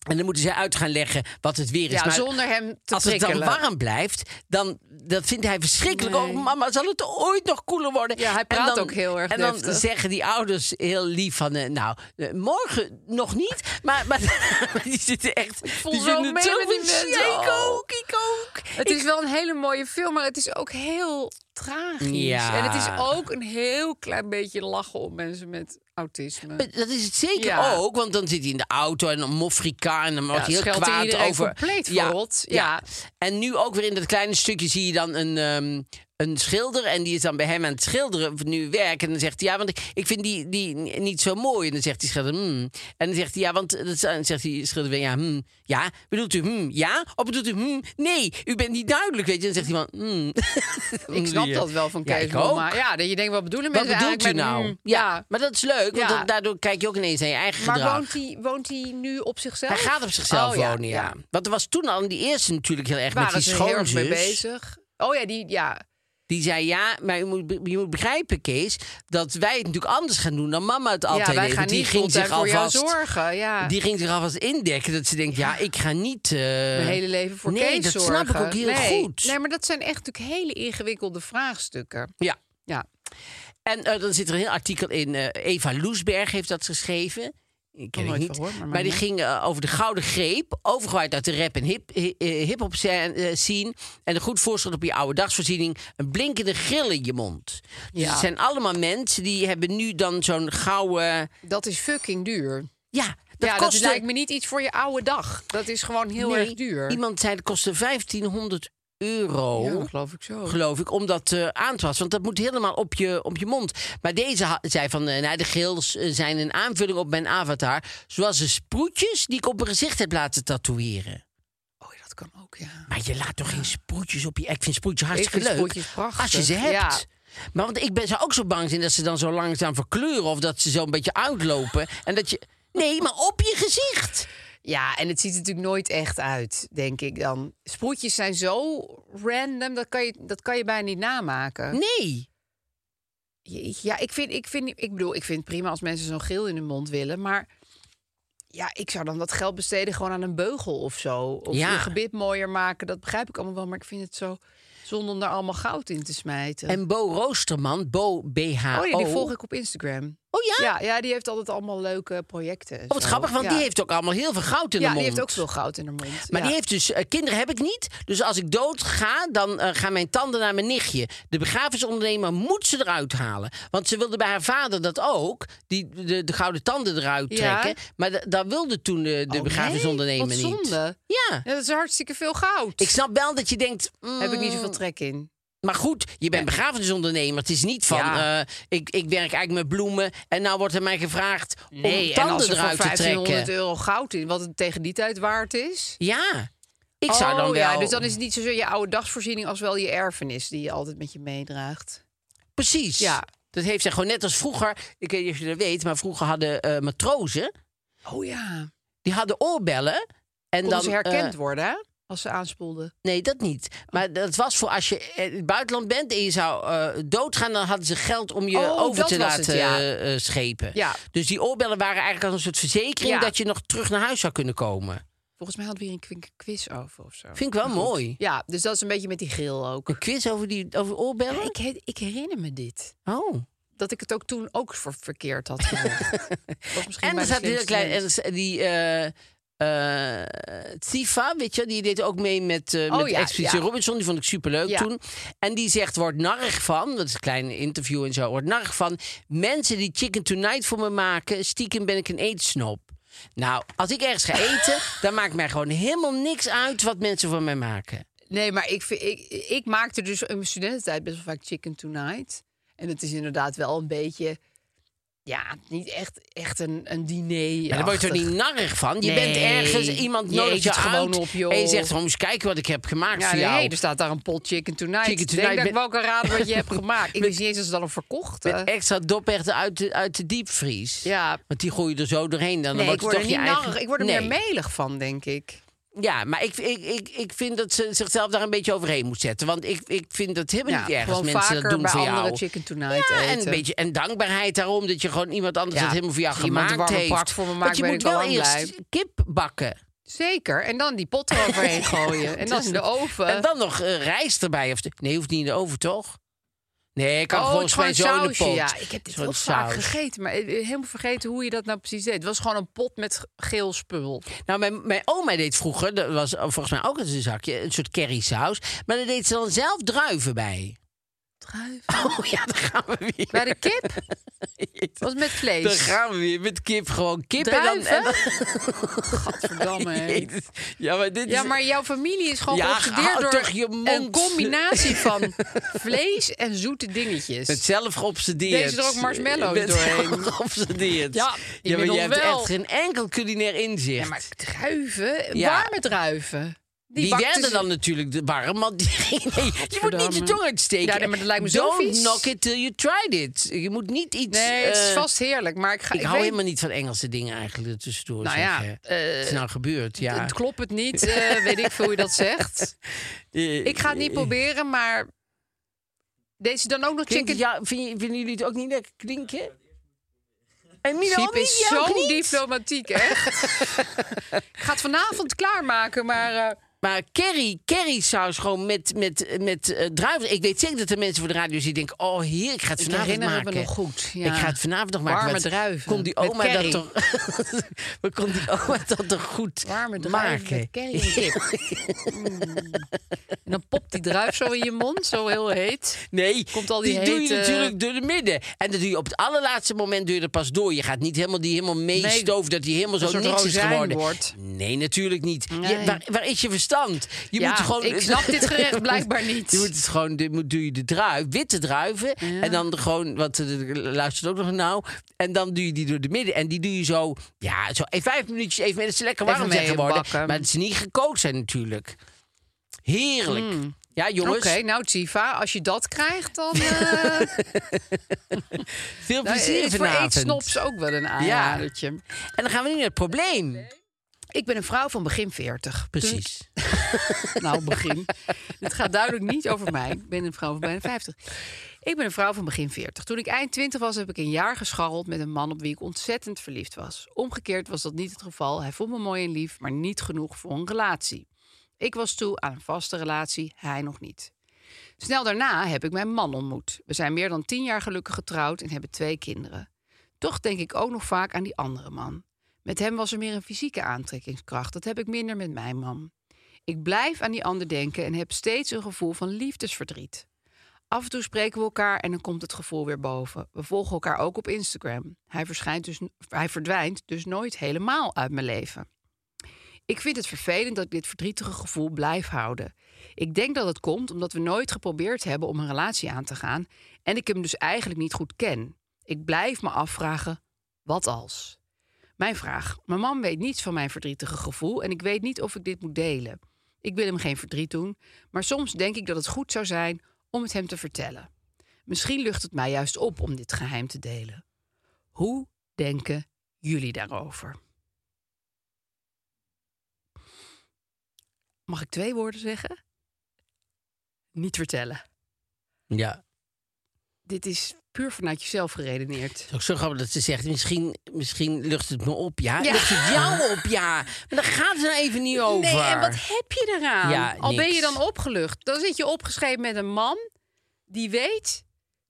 En dan moeten ze uit gaan leggen wat het weer is. Ja, Maar zonder hem te Als het dan prikkelen. warm blijft, dan dat vindt hij verschrikkelijk. Nee. Oh, mama, zal het ooit nog koeler worden? Ja, hij En praat dan- ook heel erg En dan deftig. zeggen die ouders heel lief van... eh, nou, eh, morgen nog niet, maar, maar, die zitten echt... voel die zo vinden het mee met die verschrikkelijk. mensen. Ik ook, ik ook. Het is wel een hele mooie film, maar het is ook heel tragisch. Ja. En het is ook een heel klein beetje lachen op mensen met autisme. Maar Dat is het zeker Ja. ook, want dan zit hij in de auto en dan moffrika en dan wordt Ja, hij heel scheldt kwaad iedereen over. compleet verrot. Ja. En nu ook weer in dat kleine stukje zie je dan een, ehm, een schilder en die is dan bij hem aan het schilderen of nu werk en dan zegt hij ja, want ik, ik vind die, die n- niet zo mooi. En dan zegt die schilder hmm. En dan zegt hij ja, want eh, dat is- en dan zegt die schilder weer ja, hmm. Ja, bedoelt u hmm? Ja? Of bedoelt u hmm? Nee, u bent niet duidelijk, weet je. En dan zegt hij van hmm. ik snap dat wel van Ja, Kees ik ook. Maar ja, dat je denkt, wat bedoelen Wat mensen bedoelt u eigenlijk met, nou? mm, ja. ja. maar dat is leuk, want Ja. dan- daardoor kijk je ook ineens naar je eigen Maar gedrag. woont hij, woont hij nu op zichzelf? Hij gaat op zichzelf Oh, ja, wonen, ja. ja. Want er was toen al in die eerste natuurlijk heel erg Waren met die ze heel erg mee schoonzus. bezig? Oh ja, die, ja. Die zei, ja, maar je moet, be- je moet begrijpen, Kees... dat wij het natuurlijk anders gaan doen dan mama het altijd ja, wij deed. gaan Want die niet fulltime voor jou zorgen. Ja. Die ging zich alvast indekken. Dat ze denkt, ja, ik ga niet... eh, Mijn hele leven voor nee, Kees dat zorgen. snap ik ook heel Nee. goed. Nee, maar dat zijn echt natuurlijk hele ingewikkelde vraagstukken. Ja. Ja. En eh, dan zit er een heel artikel in. eh, Eva Loesberg heeft dat geschreven. Ik ken nooit het niet. van gehoord, Oh, maar die maar ging eh, over de gouden greep. Overgewaaid uit de rap en hip- hi- eh, hip-hop scè- eh, scene. En een goed voorschot op je oude dagsvoorziening. Een blinkende grill in je mond. Dus Ja. het zijn allemaal mensen die hebben nu dan zo'n gouden. Dat is fucking duur. Ja, dat ja, kostte... dat lijkt me niet iets voor je oude dag. Dat is gewoon heel Nee, erg duur. Iemand Oh. zei het kostte 1500 euro. Ja, dat geloof ik zo. geloof ik, om dat eh, aan te passen. Want dat moet helemaal op je, op je mond. Maar deze ha- zei van, eh, nou, de grills eh, zijn een aanvulling op mijn avatar. Zoals de sproetjes die ik op mijn gezicht heb laten tatoeëren. Oh, ja, dat kan ook, ja. Maar je laat toch geen sproetjes op je... Ik vind sproetjes hartstikke vind leuk. sproetjes prachtig, Als je ze hebt. ja. Maar want ik ben, zou ook zo bang zijn dat ze dan zo langzaam verkleuren... of dat ze zo een beetje uitlopen. en dat je... Nee, maar op je gezicht. Ja, en het ziet er natuurlijk nooit echt uit, denk ik dan. Sproetjes zijn zo random, dat kan je, dat kan je bijna niet namaken. Nee. Jeetje, Ja, ik vind, ik vind, ik bedoel, ik vind het prima als mensen zo'n geel in hun mond willen, maar ja, ik zou dan dat geld besteden gewoon aan een beugel of zo, of Ja. een gebit mooier maken. Dat begrijp ik allemaal wel, maar ik vind het zo zonde om daar allemaal goud in te smijten. En Bo Roosterman, Bo B-H-O... oh ja, die volg ik op Instagram. Oh ja? Ja, ja, die heeft altijd allemaal leuke projecten. en Oh, wat zo. grappig, want Ja. die heeft ook allemaal heel veel goud in ja, de mond. die heeft ook veel goud in haar mond. Maar ja. die heeft dus, eh, kinderen heb ik niet. Dus als ik dood ga, dan eh, gaan mijn tanden naar mijn nichtje. De begrafenisondernemer moet ze eruit halen. Want ze wilde bij haar vader dat ook, die, de, de gouden tanden eruit Ja. trekken. Maar da- dat wilde toen de, de Oh, begrafenisondernemer nee? Wat niet. zonde. Ja, Ja, dat is hartstikke veel goud. ik snap wel dat je denkt... mm, Heb ik niet zoveel trek in. Maar goed, je bent begrafenisondernemer. Het is niet van, Ja. eh, ik, ik werk eigenlijk met bloemen... en nou wordt er mij gevraagd om en als tanden er voor eruit te 1500 trekken. euro goud in, wat het tegen die tijd waard is. Ja, ik zou Oh, dan wel... Ja, dus dan is het niet zozeer je oude dagsvoorziening als wel je erfenis die je altijd met je meedraagt. Precies. Ja. Dat heeft zij gewoon net als vroeger. Ik weet niet of je dat weet, maar vroeger hadden eh, matrozen. Oh ja. Die hadden oorbellen. En En dan dan ze herkend eh, worden, hè? Als ze aanspoelden. nee, dat niet. Maar dat was voor als je eh, in het buitenland bent en je zou eh, doodgaan, dan hadden ze geld om je Oh, over dat te was laten het, ja. eh, eh, schepen. Ja. Dus die oorbellen waren eigenlijk als een soort verzekering Ja. dat je nog terug naar huis zou kunnen komen. Volgens mij hadden we hier een kwink- quiz over of zo. Vind ik wel mooi. Ja, dus dat is een beetje met die grill ook. Een quiz over, die, over oorbellen? Ja, ik, he- ik herinner me dit. Oh. Dat ik het ook toen ook ver- verkeerd had gezegd. Of misschien En bij er de zat heel slimste klein. mens. En er- die. eh eh, Tifa, weet je, die deed ook mee met, eh Oh met ja, Expeditie ja. Robinson. Die vond ik superleuk Ja. toen. En die zegt, wordt narrig van, dat is een klein interview en zo, wordt narrig van. Mensen die Chicken Tonight voor me maken, stiekem ben ik een eetsnop. Nou, als ik ergens ga eten, dan maakt mij gewoon helemaal niks uit wat mensen voor mij maken. Nee, maar ik, vind, ik, ik maakte dus in mijn studententijd best wel vaak chicken tonight. En het is inderdaad wel een beetje... Ja, niet echt, echt een, een diner Maar daar word je toch niet narrig van? Je bent Nee, ergens, iemand je nodigt eet je het gewoon uit op, joh. en je zegt gewoon, eens kijken wat ik heb gemaakt Ja, voor nee, dus jou. er staat daar een pot chicken tonight. Chicken Chicken tonight tonight. Denk met- dat ik wel kan raden wat je hebt gemaakt. Ik wist niet eens dat ze dat al verkocht. Met extra doperwten uit de, uit de diepvries. Eh. Ja. Want die gooi je er zo doorheen. Dan Nee, wordt ik word het er toch niet je eigen... narrig. Ik word er Nee. meer melig van, denk ik. Ja, maar ik, ik, ik, ik vind dat ze zichzelf daar een beetje overheen moet zetten. Want ik, ik vind dat helemaal niet erg als gewoon mensen vaker dat doen bij voor andere jou. chicken tonight ja, en, eten. een beetje, en dankbaarheid daarom dat je gewoon iemand anders Ja, dat helemaal voor jou als iemand een gemaakt warme heeft. pak voor me maakt, Want je ben moet ik al wel lang eerst kip bakken. Zeker. En dan die pot eroverheen gooien. En dan in de oven. En dan nog eh, rijst erbij. Of, nee, hoeft niet in de oven, toch? Nee, ik kan Oh, gewoon het is gewoon spijs zo in de sausje. pot. Ja, ik heb dit Zo'n heel vaak saus. gegeten, maar eh, helemaal vergeten hoe je dat nou precies deed. Het was gewoon een pot met geel spul. Nou, mijn, mijn oma deed vroeger, dat was volgens mij ook eens een zakje, een soort currysaus. Maar daar deed ze dan zelf druiven bij. Oh ja, daar gaan we weer. Bij de kip was met vlees. Daar gaan we weer met kip, gewoon kip. Druiven? En dan, Gadverdamme, en hè. dan, Jezus. ja, maar dit Ja, is... maar jouw familie is gewoon Ja, geobsedeerd hou door toch je een mond. combinatie van vlees en zoete dingetjes. Met zelf geobsedeerd. Deze er ook marshmallows Met zelf doorheen. geobsedeerd. Ja, maar inmiddels jij hebt wel. echt geen enkel culinair inzicht. Ja, maar druiven? Ja. Warme druiven? Die, bakten werden ze- dan natuurlijk de warm, want die- nee, je moet niet je Godverdamme. tong uitsteken. Ja, nee, maar dat lijkt me zo Don't vies. knock it till you tried it. Je moet niet iets... Nee, het is eh, vast heerlijk, maar ik ga... Ik, ik hou weet- helemaal niet van Engelse dingen eigenlijk er tussendoor. Nou zeg, ja, hè. eh, het is nou gebeurd, ja. Het klopt het niet, eh, weet ik veel hoe je dat zegt. Eh, Ik ga het niet proberen, maar... Deze dan ook nog Klinkt chicken het- ja, vind je- vinden jullie het ook niet lekker klinken? En Milo Siep niet, is jij ook zo niet? diplomatiek, echt. ik ga het vanavond klaarmaken, maar... eh, Maar curry, curry saus gewoon met, met, met eh, druiven. Ik weet zeker dat er mensen voor de radio zitten die denken... oh, heer, ik ga het Ik vanavond herinner me maken. nog goed, ja. Ik ga het vanavond nog maken. Warme Wat druiven Kon die met oma dat curry. toch... Wat kon die oma dat toch goed warme druif maken? met curry en kip. Mm. En dan popt die druif zo in je mond, zo heel heet. Nee, Komt al die doe je hete- natuurlijk door de midden. En dat doe je op het allerlaatste moment doe je er pas door. Je gaat niet helemaal die helemaal meestoof dat die helemaal zo een soort niks is rozijn geworden. wordt. Nee, natuurlijk niet. Je- Nee. waar, waar is je verstand? Je Ja, moet gewoon. ik snap dit gerecht blijkbaar niet. Je moet het gewoon, dit moet, doe je de druif, witte druiven. En dan gewoon, want eh, luistert ook nog nou. En dan doe je die door de midden. En die doe je zo, ja, zo in vijf minuutjes even. Het is lekker Even warm zijn geworden. meebakken. Maar het is niet gekookt zijn natuurlijk. Heerlijk. Ja, Hmm. Oké, jongens. nou Tifa, als je dat krijgt, dan eh Veel nou, plezier is voor vanavond. eetsnops ook wel een aanradertje. En dan gaan we nu naar het probleem. Ik ben een vrouw van begin 40. Precies. Nou, begin. Het gaat duidelijk niet over mij. Ik ben een vrouw van bijna 50. Ik ben een vrouw van begin 40. Toen ik eind 20 was, heb ik een jaar gescharreld met een man op wie ik ontzettend verliefd was. Omgekeerd was dat niet het geval. Hij vond me mooi en lief, maar niet genoeg voor een relatie. Ik was toe aan een vaste relatie, hij nog niet. Snel daarna heb ik mijn man ontmoet. We zijn meer dan tien jaar gelukkig getrouwd en hebben twee kinderen. Toch denk ik ook nog vaak aan die andere man. Met hem was er meer een fysieke aantrekkingskracht. Dat heb ik minder met mijn man. Ik blijf aan die ander denken en heb steeds een gevoel van liefdesverdriet. Af en toe spreken we elkaar en dan komt het gevoel weer boven. We volgen elkaar ook op Instagram. Hij, verschijnt dus, hij verdwijnt dus nooit helemaal uit mijn leven. Ik vind het vervelend dat ik dit verdrietige gevoel blijf houden. Ik denk dat het komt omdat we nooit geprobeerd hebben om een relatie aan te gaan en ik hem dus eigenlijk niet goed ken. Ik blijf me afvragen: wat als? Mijn vraag: Mijn man weet niets van mijn verdrietige gevoel en ik weet niet of ik dit moet delen. Ik wil hem geen verdriet doen, maar soms denk ik dat het goed zou zijn om het hem te vertellen. Misschien lucht het mij juist op om dit geheim te delen. Hoe denken jullie daarover? Mag ik twee woorden zeggen? Niet vertellen. Ja. Het Dit is puur vanuit jezelf geredeneerd. is ook zo grappig dat ze zegt, misschien, misschien lucht het me op, ja? Ja. Lucht het jou op, ja? Maar daar gaat het nou even niet over. Nee, en wat heb je eraan? Ja, al ben je niks. dan opgelucht. Dan zit je opgeschreven met een man die weet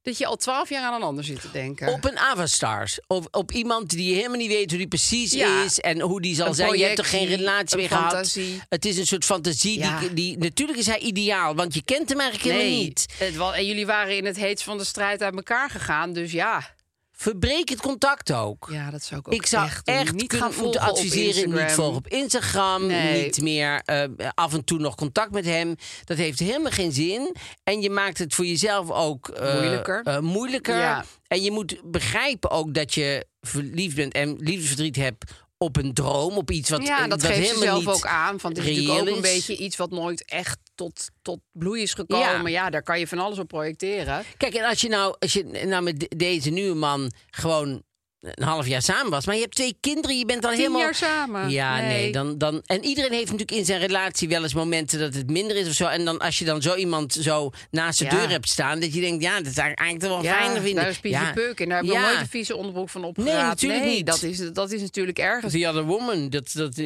dat je al twaalf jaar aan een ander zit te denken. Op een avatars. Op, op iemand die helemaal niet weet hoe die precies Ja. is en hoe die zal Een zijn. je hebt toch geen projectie, relatie een meer gehad? fantasie. Het is een soort fantasie. Die, Ja. die, natuurlijk is hij ideaal, want je kent hem eigenlijk nee, helemaal niet. Het wa- en jullie waren in het heetst van de strijd uit elkaar gegaan, dus ja. Verbreek het contact ook. Ja, dat zou ik ook Ik zou echt, echt, doen. niet kunnen- gaan volgen moeten op adviseren, Instagram. niet volgen op Instagram, Nee. niet meer eh, af en toe nog contact met hem. Dat heeft helemaal geen zin. En je maakt het voor jezelf ook eh, Moeilijker. eh, moeilijker. Ja. En je moet begrijpen ook dat je verliefd bent en liefdesverdriet hebt op een droom, op iets wat ja, eh, dat wat geeft ze helemaal zelf niet ook aan. Want het is natuurlijk reëel ook een is. beetje iets wat nooit echt tot, tot bloei is gekomen. Ja. Ja. daar kan je van alles op projecteren. Kijk, en als je nou, als je nou met de- deze nieuwe man gewoon een half jaar samen was. Maar je hebt twee kinderen, je bent dan Tien helemaal... jaar samen. Ja, nee. Ah, Nee. dan, dan... En iedereen heeft natuurlijk in zijn relatie wel eens momenten dat het minder is of zo. En dan als je dan zo iemand zo naast de Ja. deur hebt staan... dat je denkt, ja, dat is eigenlijk toch wel Ja, fijner vinden. daar is Pietje ja. Peuk en daar heb ik Ja. nog nooit een vieze onderbroek van opgeraapt. natuurlijk niet. Dat is, dat is natuurlijk ergens. The Other Woman, dat, dat,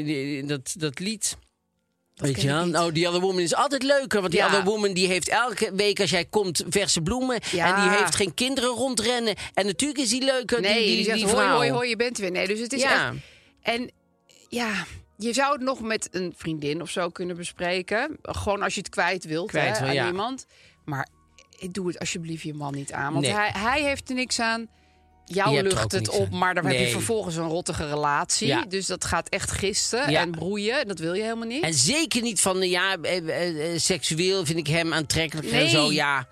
dat, dat lied. Weet je ken ik wel? niet. Nou, The Other Woman is altijd leuker. Want die Ja. Other Woman die heeft elke week als jij komt verse bloemen. Ja. En die heeft geen kinderen rondrennen. En natuurlijk is die leuker, Nee, die, die, die, zegt die hoi, vrouw. hoi, hoi, je bent er weer. Nee, dus het is Ja. echt... En ja, je zou het nog met een vriendin of zo kunnen bespreken. Gewoon als je het kwijt wilt Kwijt hè, wil, aan ja. iemand. Maar doe het alsjeblieft je man niet aan. Want Nee. hij, hij heeft er niks aan. Je Jou hebt er ook lucht het niks op, aan. maar dan heb Nee. je vervolgens een rottige relatie. Ja. Dus dat gaat echt gisten Ja. en broeien. En dat wil je helemaal niet. En zeker niet van, eh, ja, eh, eh, eh, seksueel vind ik hem aantrekkelijk en Nee. zo. Ja,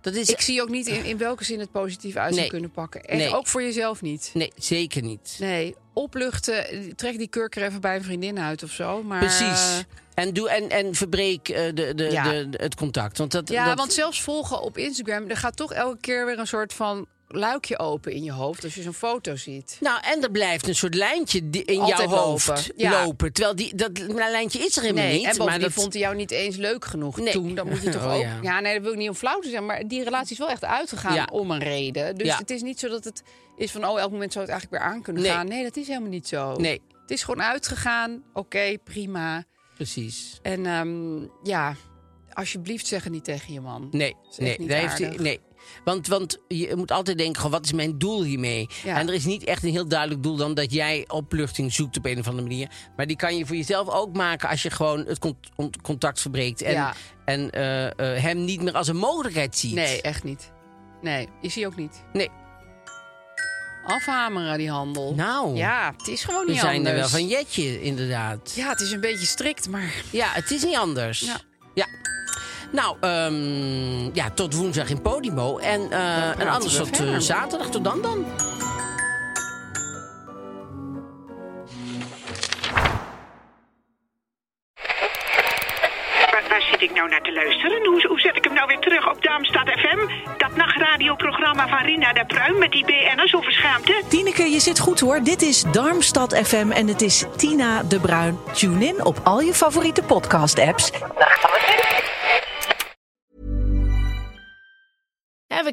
dat is... Ik zie ook niet in, in welke zin het positief uit zou Nee. kunnen pakken. Echt, Nee. ook voor jezelf niet. Nee, zeker niet. Nee, opluchten. Trek die kurker even bij een vriendin uit of zo. Maar, eh, Precies. En, doe, en, en verbreek eh, de, de, Ja. de, de- het contact. Want dat, ja, dat, want zelfs volgen op Instagram... er gaat toch elke keer weer een soort van luikje open in je hoofd... als je zo'n foto ziet. Nou, en er blijft een soort lijntje die- in Altijd jouw hoofd lopen. lopen, ja. Terwijl die, dat lijntje is er helemaal Nee, niet. en maar bovendien dat vond hij jou niet eens leuk genoeg Nee. toen. Dan moet je toch Oh, ook... ja. Ja. nee, dat wil ik niet om flauw te zijn... maar die relatie is wel echt uitgegaan Ja. om een reden. Dus Ja. het is niet zo dat het is van... oh, elk moment zou het eigenlijk weer aan kunnen Nee. gaan. Nee, dat is helemaal niet zo. Nee, Het is gewoon uitgegaan. Oké, prima. precies. En ehm, ja, alsjeblieft zeg het niet tegen je man. Nee, is echt nee, niet daar heeft hij, aardig. nee. Want, want je moet altijd denken, goh, wat is mijn doel hiermee? Ja. En er is niet echt een heel duidelijk doel dan dat jij opluchting zoekt op een of andere manier. Maar die kan je voor jezelf ook maken als je gewoon het con- ont- contact verbreekt. En, Ja. en eh, eh, hem niet meer als een mogelijkheid ziet. Nee, echt niet. Nee, is hij ook niet. Nee. Afhameren die handel. Nou, Ja, het is gewoon we niet zijn anders. er wel van Jetje, inderdaad. Ja, het is een beetje strikt, maar... Ja, het is niet anders. Ja. Ja. Nou, ehm, ja, tot woensdag in Podimo. En, eh, en praten anders we tot eh, verder. zaterdag. Tot dan dan. Waar, waar zit ik nou naar te luisteren? Hoe, hoe zet ik hem nou weer terug op Darmstad FM? Dat nachtradioprogramma van Rina de Pruim met die BN'ers over schaamte? Tineke, je zit goed hoor. Dit is Darmstad FM en het is Tina de Bruin. Tune in op al je favoriete podcast-apps Ever